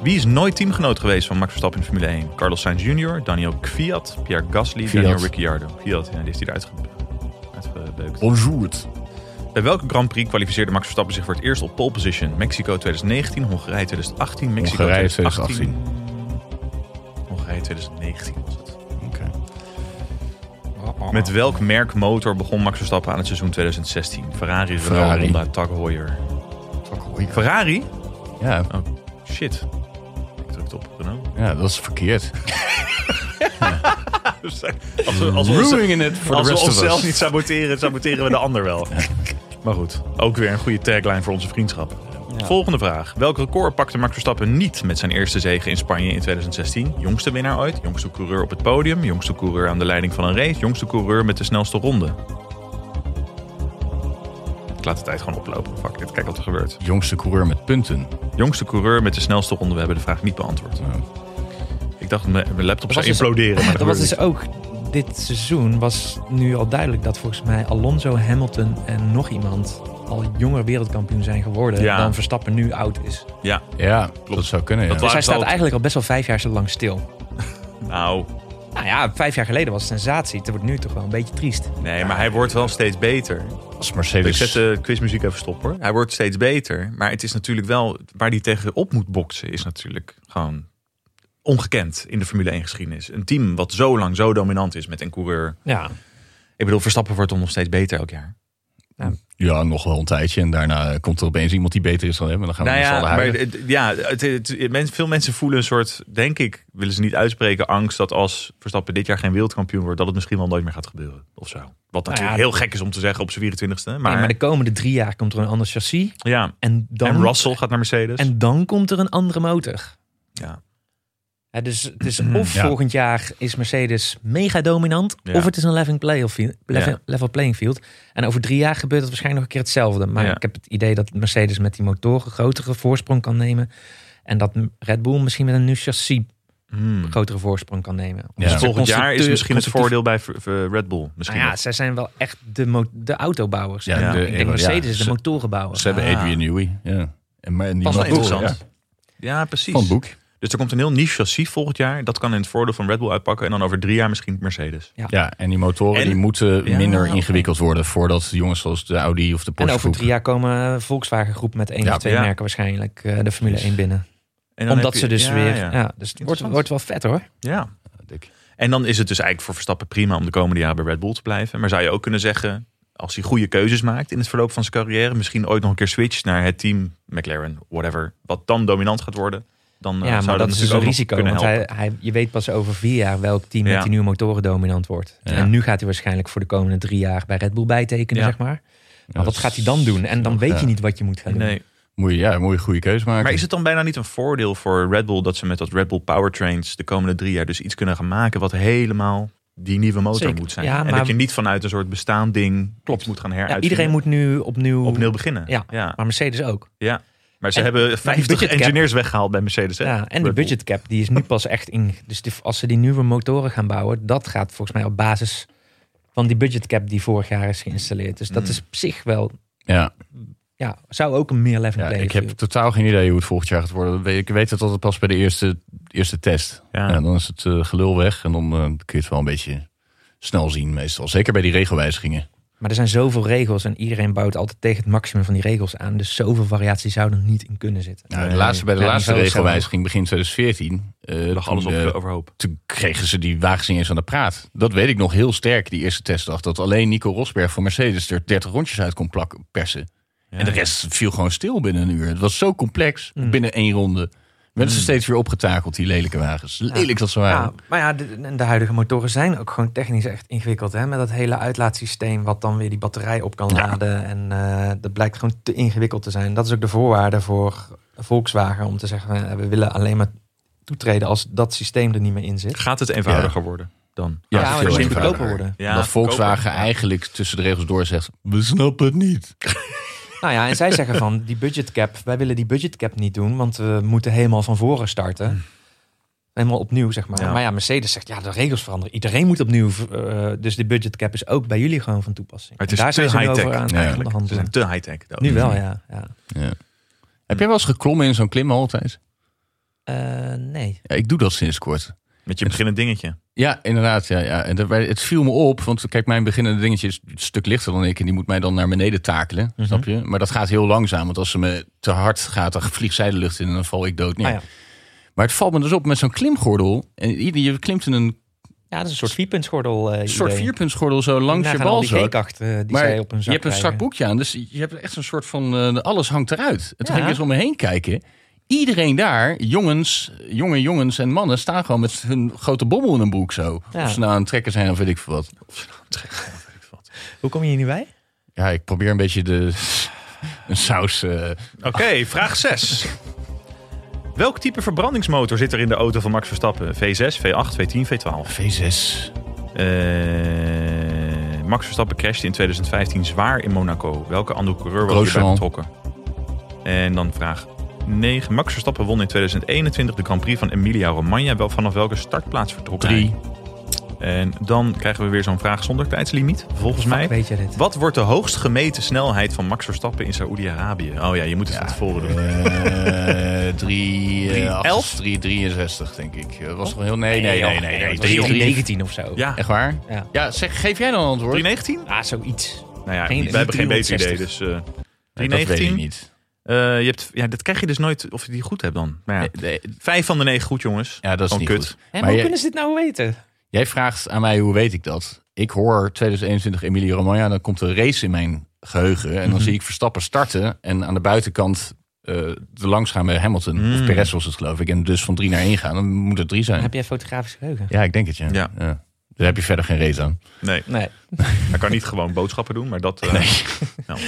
Wie is nooit teamgenoot geweest van Max Verstappen in de Formule 1? Carlos Sainz Jr., Daniel Kvyat, Pierre Gasly, Kvyat. Daniel Ricciardo. Kvyat, ja, die is hier uitge- uitgebeukt. Bonjour. Bij welke Grand Prix kwalificeerde Max Verstappen zich voor het eerst op pole position? Mexico 2019, Hongarije 2018, Mexico Hongarije 2018. Hongarije 2019 was het. Oké. Met welk merk motor begon Max Verstappen aan het seizoen 2016? Ferrari, Renault, Ferrari. Honda, Tag Heuer. Ferrari? Ja, Oh, shit. Ik drukte op Renault. ja, dat is (laughs) verkeerd. Als we, als we, ons- Ruining it for als the we rest of onszelf us. (laughs) niet saboteren, saboteren we de ander wel. Maar goed, ook weer een goede tagline voor onze vriendschap. Volgende vraag. Welk record pakte Max Verstappen niet met zijn eerste zege in Spanje in 2016? Jongste winnaar ooit, jongste coureur op het podium, jongste coureur aan de leiding van een race, jongste coureur met de snelste ronde. Ik laat de tijd gewoon oplopen. Fuck it, kijk wat er gebeurt. Jongste coureur met punten. Jongste coureur met de snelste ronde, we hebben de vraag niet beantwoord. Ik dacht, mijn mijn laptop zou imploderen. (laughs) maar dat Er was gebeurde dus ook dit seizoen was nu al duidelijk dat volgens mij Alonso, Hamilton en nog iemand al jonger wereldkampioen zijn geworden Ja. dan Verstappen nu oud is. niet. Ja, Ja, dat zou kunnen. Dat ja. Dus hij het staat al- eigenlijk al best wel vijf jaar zo lang stil. nou, Nou ja, vijf jaar geleden was het sensatie. Het wordt nu toch wel een beetje triest. nee, maar hij wordt wel steeds beter. Als Ik Mercedes. zet de quizmuziek even stop hoor. Hij wordt steeds beter. Maar het is natuurlijk wel. Waar hij tegenop moet boksen is natuurlijk gewoon ongekend in de Formule 1 geschiedenis. Een team wat zo lang zo dominant is met een coureur. Ja, Ik bedoel, Verstappen wordt dan nog steeds beter elk jaar. Ja, nog wel een tijdje. En daarna komt er opeens iemand die beter is dan hem. En dan gaan we Nou met z'n ja, allen maar huilen. het- ja het, het- mens- veel mensen voelen een soort, denk ik, willen ze niet uitspreken, angst dat als Verstappen dit jaar geen wereldkampioen wordt, dat het misschien wel nooit meer gaat gebeuren. Of zo. Wat natuurlijk Nou ja, heel gek is om te zeggen op zijn 24ste. Maar, maar, maar de komende drie jaar komt er een ander chassis. ja. En dan, En Russell gaat naar Mercedes. en dan komt er een andere motor. Dus- ja. Hè, dus (clears throat) het is of Ja. volgend jaar is Mercedes mega dominant, Ja. of het is een level, playoff field- level, Ja. level playing field. En over drie jaar gebeurt het waarschijnlijk nog een keer hetzelfde. Maar Ja. ik heb het idee dat Mercedes met die motoren grotere voorsprong kan nemen. En dat Red Bull misschien met een nieuw chassis Hmm. grotere voorsprong kan nemen. Ja. Dus volgend jaar is Constructeur- misschien het constructief- voordeel bij v- v- Red Bull. Nou Misschien ja, wel. zij zijn wel echt de, mo- de autobouwers. Ja, de- ik denk Mercedes is ja, de ze- motorenbouwer. Ze hebben Ah. Adrian Newey. Ja. En, maar, en die Pas wel Van Boek, interessant. ja. Ja, precies. Van Boek. Dus er komt een heel niche chassis volgend jaar. Dat kan in het voordeel van Red Bull uitpakken. En dan over drie jaar misschien Mercedes. Ja, en die motoren En- die moeten Ja, minder oké. ingewikkeld worden voordat jongens zoals de Audi of de En Porsche over drie groep- jaar komen Volkswagen groep met één Ja. of twee Ja. merken waarschijnlijk eh, de Formule 1 binnen. En dan Omdat heb ze je- dus ja, weer... Ja. Ja. Ja. dus het Interessant. wordt, Nou, wordt wel vet hoor. Dik. En dan is het dus eigenlijk voor Verstappen prima om de komende jaren bij Red Bull te blijven. Maar zou je ook kunnen zeggen, als hij goede keuzes maakt in het verloop van zijn carrière. Misschien ooit nog een keer switcht naar het team McLaren, whatever. Wat dan dominant gaat worden. Dan eh, Ja, zou maar dat is dus natuurlijk een ook nog risico. kunnen Want hij, helpen. hij, je weet pas over vier jaar welk team Ja. met die nieuwe motoren dominant wordt. Ja. En nu gaat hij waarschijnlijk voor de komende drie jaar bij Red Bull bijtekenen, Ja. zeg maar. Ja, Maar dat wat gaat hij dan doen? En dan weet ja. je niet wat je moet gaan doen. Nee. Moet je, ja, moet je een goede keuze maken. Maar is het dan bijna niet een voordeel voor Red Bull dat ze met dat Red Bull Powertrains de komende drie jaar dus iets kunnen gaan maken wat helemaal die nieuwe motor Zeker. moet zijn? Ja, en maar- dat je niet vanuit een soort bestaand ding iets moet gaan Ja, heruitvinden. iedereen moet nu opnieuw... opnieuw beginnen. Ja. Maar Mercedes ook. Maar ze En- hebben 50 budgetcap- engineers weggehaald bij Mercedes. Hè? Ja, en Red die Bull. budget cap die is nu pas echt in. Dus die- als ze die nieuwe motoren gaan bouwen, dat gaat volgens mij op basis van die budget cap die vorig jaar is geïnstalleerd. Dus dat Hmm. Mm. is op zich wel, Ja, ja, zou ook een meer level ja play ik heb field. totaal geen idee hoe het volgend jaar gaat worden. We- Ik weet het altijd pas bij de eerste, eerste test. Ja. Ja. dan is het eh, gelul weg en dan eh, kun je het wel een beetje snel zien meestal. Zeker bij die regelwijzigingen. Maar er zijn zoveel regels en iedereen bouwt altijd tegen het maximum van die regels aan. Dus zoveel variatie zou er niet in kunnen zitten. Nou, de laatste, bij de Ja, laatste die velden regelwijziging begin 2014... eh, lag toen, alles op eh, overhoop. toen kregen ze die wagens niet eens aan de praat. Dat weet ik nog heel sterk, die eerste testdag. Dat alleen Nico Rosberg van Mercedes er 30 rondjes uit kon plakken, persen. En de rest viel gewoon stil binnen een uur. Het was zo complex. Binnen één ronde werden ze steeds weer opgetakeld, die lelijke wagens. Lelijk dat ze Ja, waren. maar ja, de, en de huidige motoren zijn ook gewoon technisch echt ingewikkeld. Hè? Met dat hele uitlaatsysteem wat dan weer die batterij op kan laden. En eh, dat blijkt gewoon te ingewikkeld te zijn. Dat is ook de voorwaarde voor Volkswagen om te zeggen... eh, we willen alleen maar toetreden als dat systeem er niet meer in zit. Gaat het eenvoudiger worden dan? Ja, maar veel het moet eenvoudiger. goedkoper worden. Ja, dat Volkswagen goedkoper. eigenlijk tussen de regels door zegt... We snappen het niet. Nou ja, en zij zeggen van die budget cap, wij willen die budget cap niet doen, want we moeten helemaal van voren Hmm. starten. Helemaal opnieuw, zeg maar. Ja. Maar ja, Mercedes zegt, ja, de regels veranderen. Iedereen moet opnieuw. eh, dus die budget cap is ook bij jullie gewoon van toepassing. Maar het is Daar te zijn ze nu high-tech over aan Ja. aan de Ze zijn hand. te high-tech. de Nu auto's. wel, ja. ja. Heb jij wel eens geklommen in zo'n klimhal thuis? Eh, nee. Ja, ik doe dat sinds kort. Met je beginnend dingetje. Ja, inderdaad. Ja, ja. En dat- het viel me op, want kijk, mijn beginnende dingetje is een stuk lichter dan ik. En die moet mij dan naar beneden takelen, Mhm. snap je? Maar dat gaat heel langzaam, want als ze me te hard gaat, dan vliegt zij de lucht in en dan val ik dood neer. Ah ja. Maar het valt me dus op met zo'n klimgordel. En ieder- je klimt in een ja, dat is een soort vierpuntsgordel. eh, soort idee. vierpuntsgordel zo langs je Nagaan al die balzak. keekacht eh, die Maar zij op hun je zak hebt een krijgen. strak boekje aan, dus je hebt echt een soort van eh, alles hangt eruit. En toen Ja. ging ik eens om me heen kijken. Iedereen daar, jongens, jonge jongens en mannen, staan gewoon met hun grote bommel in een broek zo. Ja. Of ze nou aan het trekken zijn of nou weet ik veel wat. Hoe kom je hier nu bij? Ja, ik probeer een beetje de Een saus. eh, Oké, vraag 6. Welk type verbrandingsmotor zit er in de auto van Max Verstappen? V6, V8, V10, V12? V6. Eh, Max Verstappen crashte in 2015 zwaar in Monaco. Welke andere coureur was hierbij Grosjean. betrokken? En dan vraag 9. Max Verstappen won in 2021 de Grand Prix van Emilia-Romagna. Wel, vanaf welke startplaats vertrok Drie. hij? En dan krijgen we weer zo'n vraag zonder tijdslimiet. Volgens mij. Weet je dit? Wat wordt de hoogst gemeten snelheid van Max Verstappen in Saoedi-Arabië? Oh ja, je moet het van tevoren doen. eh, drie, Drie, eh, elf? acht, drie, 63, denk ik. Eh, Oh. Was toch heel... Nee, nee, joh. nee. nee, nee, Het was drie, drie, 19 of zo. Ja, Echt waar? Ja. Ja, zeg, geef jij dan een antwoord? 319? Ah, zoiets. Nou ja, Geen- we hebben geen beter idee. 360. Dus, eh Nee, dat weet 319? ik niet. Eh, je hebt, ja, dat krijg je dus nooit of je die goed hebt dan. Maar ja. Nee, nee, Vijf van de negen goed, jongens. ja, dat is Gewoon niet Oh, kut. goed. Hè, maar, Maar hoe je- kunnen ze dit nou weten? Jij vraagt aan mij hoe weet ik dat? Ik hoor 2021 Emilia Romagna, dan komt een race in mijn geheugen. En dan zie ik Verstappen starten en aan de buitenkant eh de langs gaan bij Hamilton. Of Perez was het geloof ik. En dus van drie naar één gaan, dan moet het drie zijn. Heb jij fotografisch geheugen? Ja, ik denk het ja. Ja. Daar heb je verder geen race aan. Nee, Nee. hij kan niet gewoon boodschappen doen, maar dat... eh, (laughs) nou.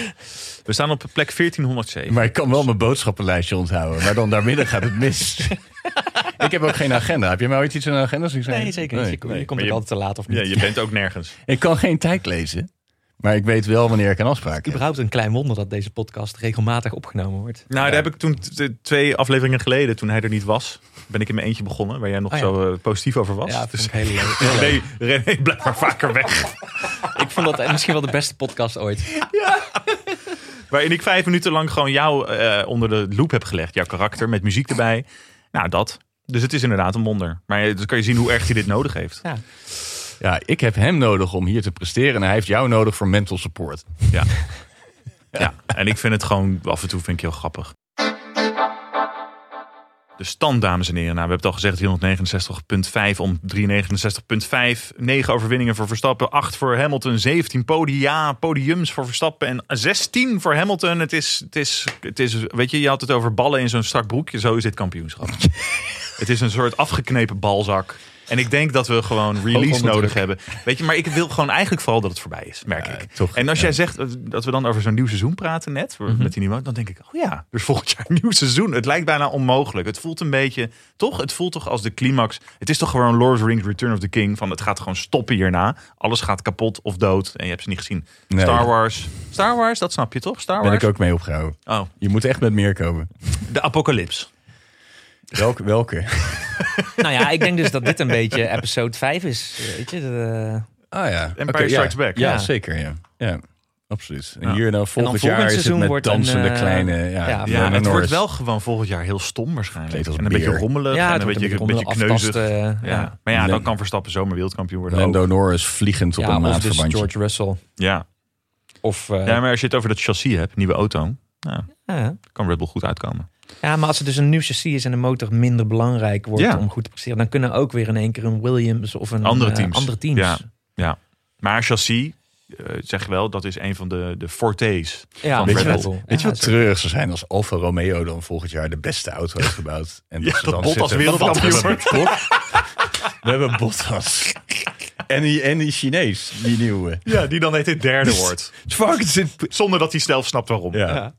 We staan op plek 1407. Maar ik kan wel mijn boodschappenlijstje onthouden. Maar dan daarmidden gaat het mis. (laughs) ik heb ook geen agenda. Heb je mij ooit iets in een agenda zien Nee, zeker niet. Je, kom- je komt Maar ook je- altijd te laat of niet. Ja, je bent ook (laughs) nergens. Ik kan geen tijd lezen. Maar ik weet wel wanneer ik een afspraak heb. Überhaupt een klein wonder dat deze podcast regelmatig opgenomen wordt. Nou, daar heb ik toen t- t- twee afleveringen geleden, toen hij er niet was, ben ik in mijn eentje begonnen, waar jij nog Oh ja. zo eh, positief over was. Ja, vind dus ik heel leuk. (laughs) René, René, blijf maar vaker weg. Ik vond dat eh, misschien wel de beste podcast ooit. Waarin ik vijf minuten lang gewoon jou eh, onder de loep heb gelegd. Jouw karakter, met muziek erbij. Nou, dat. Dus het is inderdaad een wonder. Maar eh, dan kan je zien hoe erg hij dit nodig heeft. Ja. Ja, ik heb hem nodig om hier te presteren. En hij heeft jou nodig voor mental support. Ja. ja. En ik vind het gewoon, af en toe vind ik heel grappig. De stand, dames en heren. Nou, we hebben het al gezegd, 369.5 om 369.5. 9 overwinningen voor Verstappen, 8 voor Hamilton, 17 podia, podiums voor Verstappen en 16 voor Hamilton. Het is, het is, het is, weet je, je had het over ballen in zo'n strak broekje. Zo is dit kampioenschap. het is een soort afgeknepen balzak. En ik denk dat we gewoon release onder nodig hebben. Weet je, maar ik wil gewoon eigenlijk vooral dat het voorbij is, merk ik. toch, en als ja. jij zegt dat- dat we dan over zo'n nieuw seizoen praten net, voor- met die nieuwe, dan denk ik, oh ja, dus volgend jaar (laughs) een nieuw seizoen. Het lijkt bijna onmogelijk. Het voelt een beetje, toch? Het voelt toch als de climax. Het is toch gewoon Lord of the Rings Return of the King, van het gaat gewoon stoppen hierna. Alles gaat kapot of dood en je hebt ze niet gezien. Nee. Star Wars. Star Wars, dat snap je toch? Star Ben Wars. ik ook mee opgehouden. Oh, Je moet echt met meer komen. de apocalyps. Welke? (laughs) welke? Nou ja, ik denk dus dat dit een beetje episode 5 is. Weet je, de- Ah ja. Empire Oké, ja. Strikes Back. Ja, Ja. zeker. Ja. ja. Absoluut. En Ja. hier nou en dan volgend volgend jaar is het seizoen met wordt een, dansende eh, kleine... Ja, ja, Lando Ja, het wordt Norris. wel gewoon volgend jaar heel stom waarschijnlijk. Klinkt En als een een beetje bier. rommelig ja, en het een wordt beetje, een rommelig beetje kneuzig. aftasten, eh, Ja. ja. Maar ja, Lando- dan kan Verstappen zomaar wereldkampioen worden. ook. Lando Norris vliegend op Ja, een of dus maatverbandje. George Russell. Ja. Of, eh, ja, maar als je het over dat chassis hebt, nieuwe auto, nou, ja. kan Red Bull goed uitkomen. Ja, maar als het dus een nieuw chassis is en de motor minder belangrijk wordt Ja. om goed te presteren, dan kunnen ook weer in één keer een Williams of een Andere eh, teams. andere teams. Ja. Maar chassis, eh, zeg je wel, dat is een van de, de fortes. Ja, Van Weet weet je je Red wat, Bull. weet je Ja, wat treurig zou zijn als Alfa Romeo dan volgend jaar de beste auto (laughs) heeft gebouwd? En Ja, dat Bottas zitten, wereldkampioen "Wat hebben we toch?" We hebben (laughs) Bottas. En die, en die Chinees, die nieuwe. Ja, die dan heet het derde wordt. Fuck, (laughs) het zit... (laughs) Zonder dat hij zelf snapt waarom. Ja.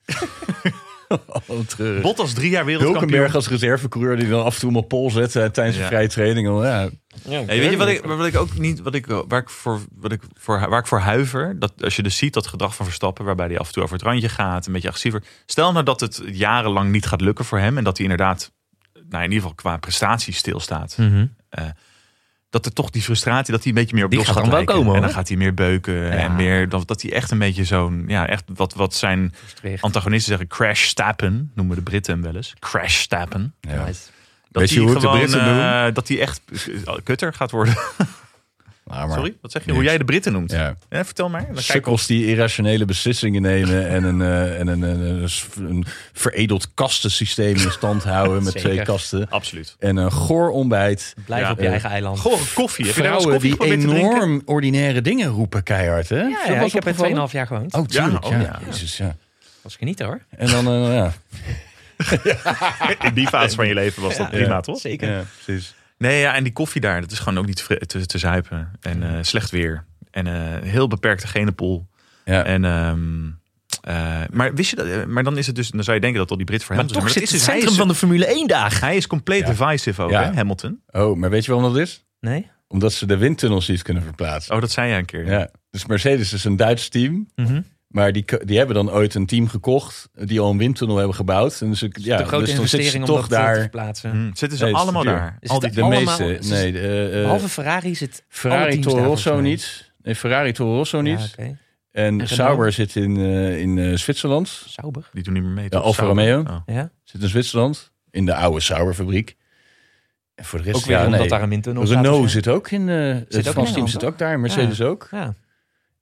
Oh, treurig. Bottas drie jaar wereldkampioen. Hulkenberg als reservecoureur die dan af en toe hem op pol zet eh, tijdens een Ja. vrije training. Dan, ja. Hey, weet je wat ik, wat ik ook niet, wat ik, eh, waar, ik voor, wat ik voor, waar ik voor huiver? Dat als je dus ziet dat gedrag van Verstappen, waarbij hij af en toe over het randje gaat, een beetje agressiever. Stel nou dat het jarenlang niet gaat lukken voor hem en dat hij inderdaad, nou in ieder geval qua prestatie stilstaat. Eh, dat er toch die frustratie, dat hij een beetje meer op Die los gaat gaat dan wel lijken. komen, En hoor. dan gaat hij meer beuken en meer, dat, dat hij echt een beetje zo'n, ja echt wat, wat zijn antagonisten zeggen, crash stappen, noemen de Britten hem wel eens. Crash stappen. Ja. Dat Weet je hij hoe het de gewoon, Britten eh, dat hij echt eh, kutter gaat worden. Maar, maar, Sorry, wat zeg je? Niks. Hoe jij de Britten noemt? Ja. Hè, vertel maar. Dan kijk ik Sukkels die irrationele beslissingen nemen en een, eh, en een, een, een, een veredeld kastensysteem in stand houden met Zeker. twee kasten. Absoluut. En een goor ontbijt. Blijf Ja, op je eh, eigen eiland. Goh, koffie. Heb je daar wel eens Vrouwen die koffie geprobeerd te drinken? enorm ordinaire dingen roepen keihard. Hè? ja, Dat ja, was ik heb er opgevallen. 2,5 jaar gewoond. Oh, tuurlijk. Ja, Ja, oh, ja. Jezus, ja. was genieten hoor. En dan, eh, ja. (laughs) In die fase van je leven was dat prima, toch? Zeker. ja, precies. Nee, ja, en die koffie daar, dat is gewoon ook niet fri- te, te zuipen. En eh, slecht weer. En eh, heel beperkte genenpool. Ja. En ehm, Eh, maar, wist je dat, eh, maar dan is het dus, dan zou je denken dat al die Brit voor Maar hem toch zit het hij centrum is, van de Formule 1 dagen. hij is compleet Ja. divisive ook, Ja. hè, Hamilton. Oh, maar weet je waarom dat is? Nee? Omdat ze de windtunnels niet kunnen verplaatsen. Oh, dat zei jij een keer. Ja. Dus Mercedes is een Duits team. Mhm. Maar die, ko- die hebben dan ooit een team gekocht. Die al een windtunnel hebben gebouwd. En dus, ik- ja, de grote dus dan zitten ze investering om toch dat eh, te daar. verplaatsen. Hm, zitten ze Nee, het is allemaal te duur. daar? Is Al het die, daar- De Allemaal- meeste. het is- Nee, de, eh, Behalve Ferrari zit alle Ferrari teams Toro daar Rosso volgens mij. niet. Nee, Ferrari Toro Rosso niet. Ja, oké. En, En Sauber zit in, eh, in eh, Zwitserland. Sauber. die doen niet meer mee. Ja, toch? Alfa Sauber. Romeo. Oh. Ja. Zit in Zwitserland. In de oude Sauber-fabriek. En voor de rest... Ook weer Dus ja, omdat nee. daar een windtunnel staat of Renault zo. zit ook in... eh het ook in Frans team Engeland, zit toch? ook daar. Mercedes ook. Ja.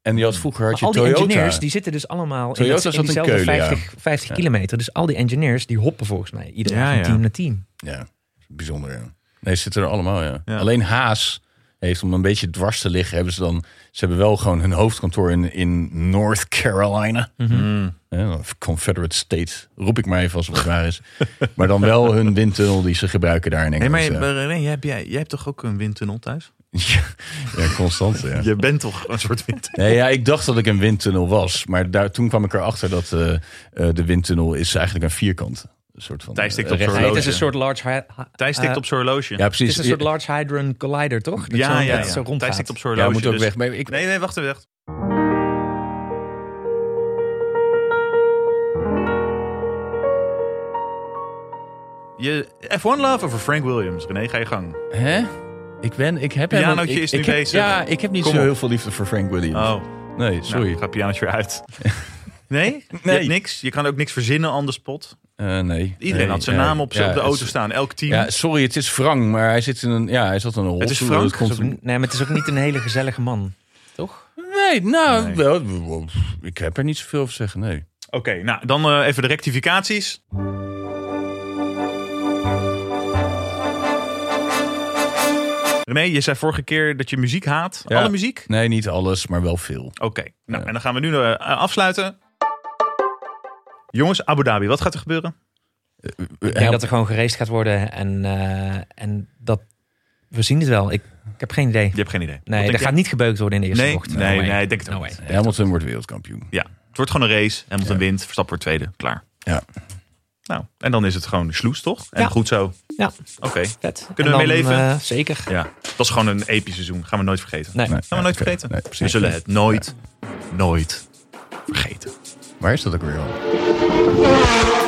En die had vroeger had Maar je al die Toyota. engineers die zitten dus allemaal in, Toyota dat, in zat in diezelfde Keulen, ja. 50, 50 kilometer. Dus al die engineers die hoppen volgens mij ieder Ja, jaar van ja. team naar team. Ja, bijzonder. Ja. Nee, ze zitten er allemaal, ja. Ja. Alleen Haas heeft, om een beetje dwars te liggen, hebben ze dan... Ze hebben wel gewoon hun hoofdkantoor in, in North Carolina. Mhm. Ja, of Confederate States, roep ik maar even als het waar is. (laughs) maar dan wel hun windtunnel die ze gebruiken daar in Nee, Engeland. maar maar René, jij, hebt- jij, jij hebt toch ook een windtunnel thuis? ja. (laughs) ja, constant, (laughs) ja. Je bent toch een soort windtunnel? Nee, ja, ik dacht dat ik een windtunnel was. Maar daar, toen kwam ik erachter dat eh, eh, de windtunnel is eigenlijk een vierkant. Een soort van... Thijs tikt eh, op zijn recht- Nee, het is een horloge. soort large... hy- hy- (laughs) Thijs eh, tikt op zijn horloge. Ja, Het precies. is een soort large hadron collider, toch? Dat ja, zo, ja. dat het zo ja. rond Thijs gaat. tikt op zijn ja, horloge. moet ook dus- weg. Maar ik, Nee, nee, wacht even. wacht. Je F1 love over Frank Williams. René, ga je gang. Hè? Ik ben, ik heb Pianootje helemaal- ik- is nu ik heb- bezig. Ja, ik heb niet Kom zo op. heel veel liefde voor Frank Williams. Oh, Nee, sorry. sorry. Nou, gaat pianootje weer (laughs) uit. Nee? Je Nee. hebt niks. Je kan ook niks verzinnen on the spot. Eh, nee. Iedereen Nee, had zijn ja, naam op, ja, op de het- auto staan. Elk team. Ja, sorry, het is Frank, maar hij zit in een, ja, hij zat in een rolstoel. Het is Frank? dat komt- Is ook- Nee, maar het is ook niet een hele gezellige man. Toch? Nee, nou, Nee. wel, ik heb er niet zoveel over te zeggen, nee. Oké, nou dan eh, even de rectificaties. René, je zei vorige keer dat je muziek haat. Ja. Alle muziek? Nee, niet alles, maar wel veel. Oké, nou Ja. en dan gaan we nu eh, afsluiten. Jongens, Abu Dhabi, wat gaat er gebeuren? Ik denk dat er gewoon geraced gaat worden. En, eh, en dat... We zien het wel. Ik, ik heb geen idee. Je hebt geen idee. Wat Nee, denk dat jij? gaat niet gebeukt worden in de eerste Nee, bocht. nee, No way. nee, ik denk het No ook way. niet. Hamilton wordt wereldkampioen. Ja, het wordt gewoon een race. Hamilton wint, Verstappen wordt tweede, klaar. Ja. Nou, en dan is het gewoon sloes, toch? En Ja. goed zo. Oké, Ja, vet. Kunnen En we dan, meeleven? eh, zeker. ja. Dat is gewoon een episch seizoen. Gaan we nooit vergeten. Nee. Nee. Gaan we nooit Oké, vergeten. nee, precies. we zullen het nooit, nooit vergeten. Waar is dat ook weer al?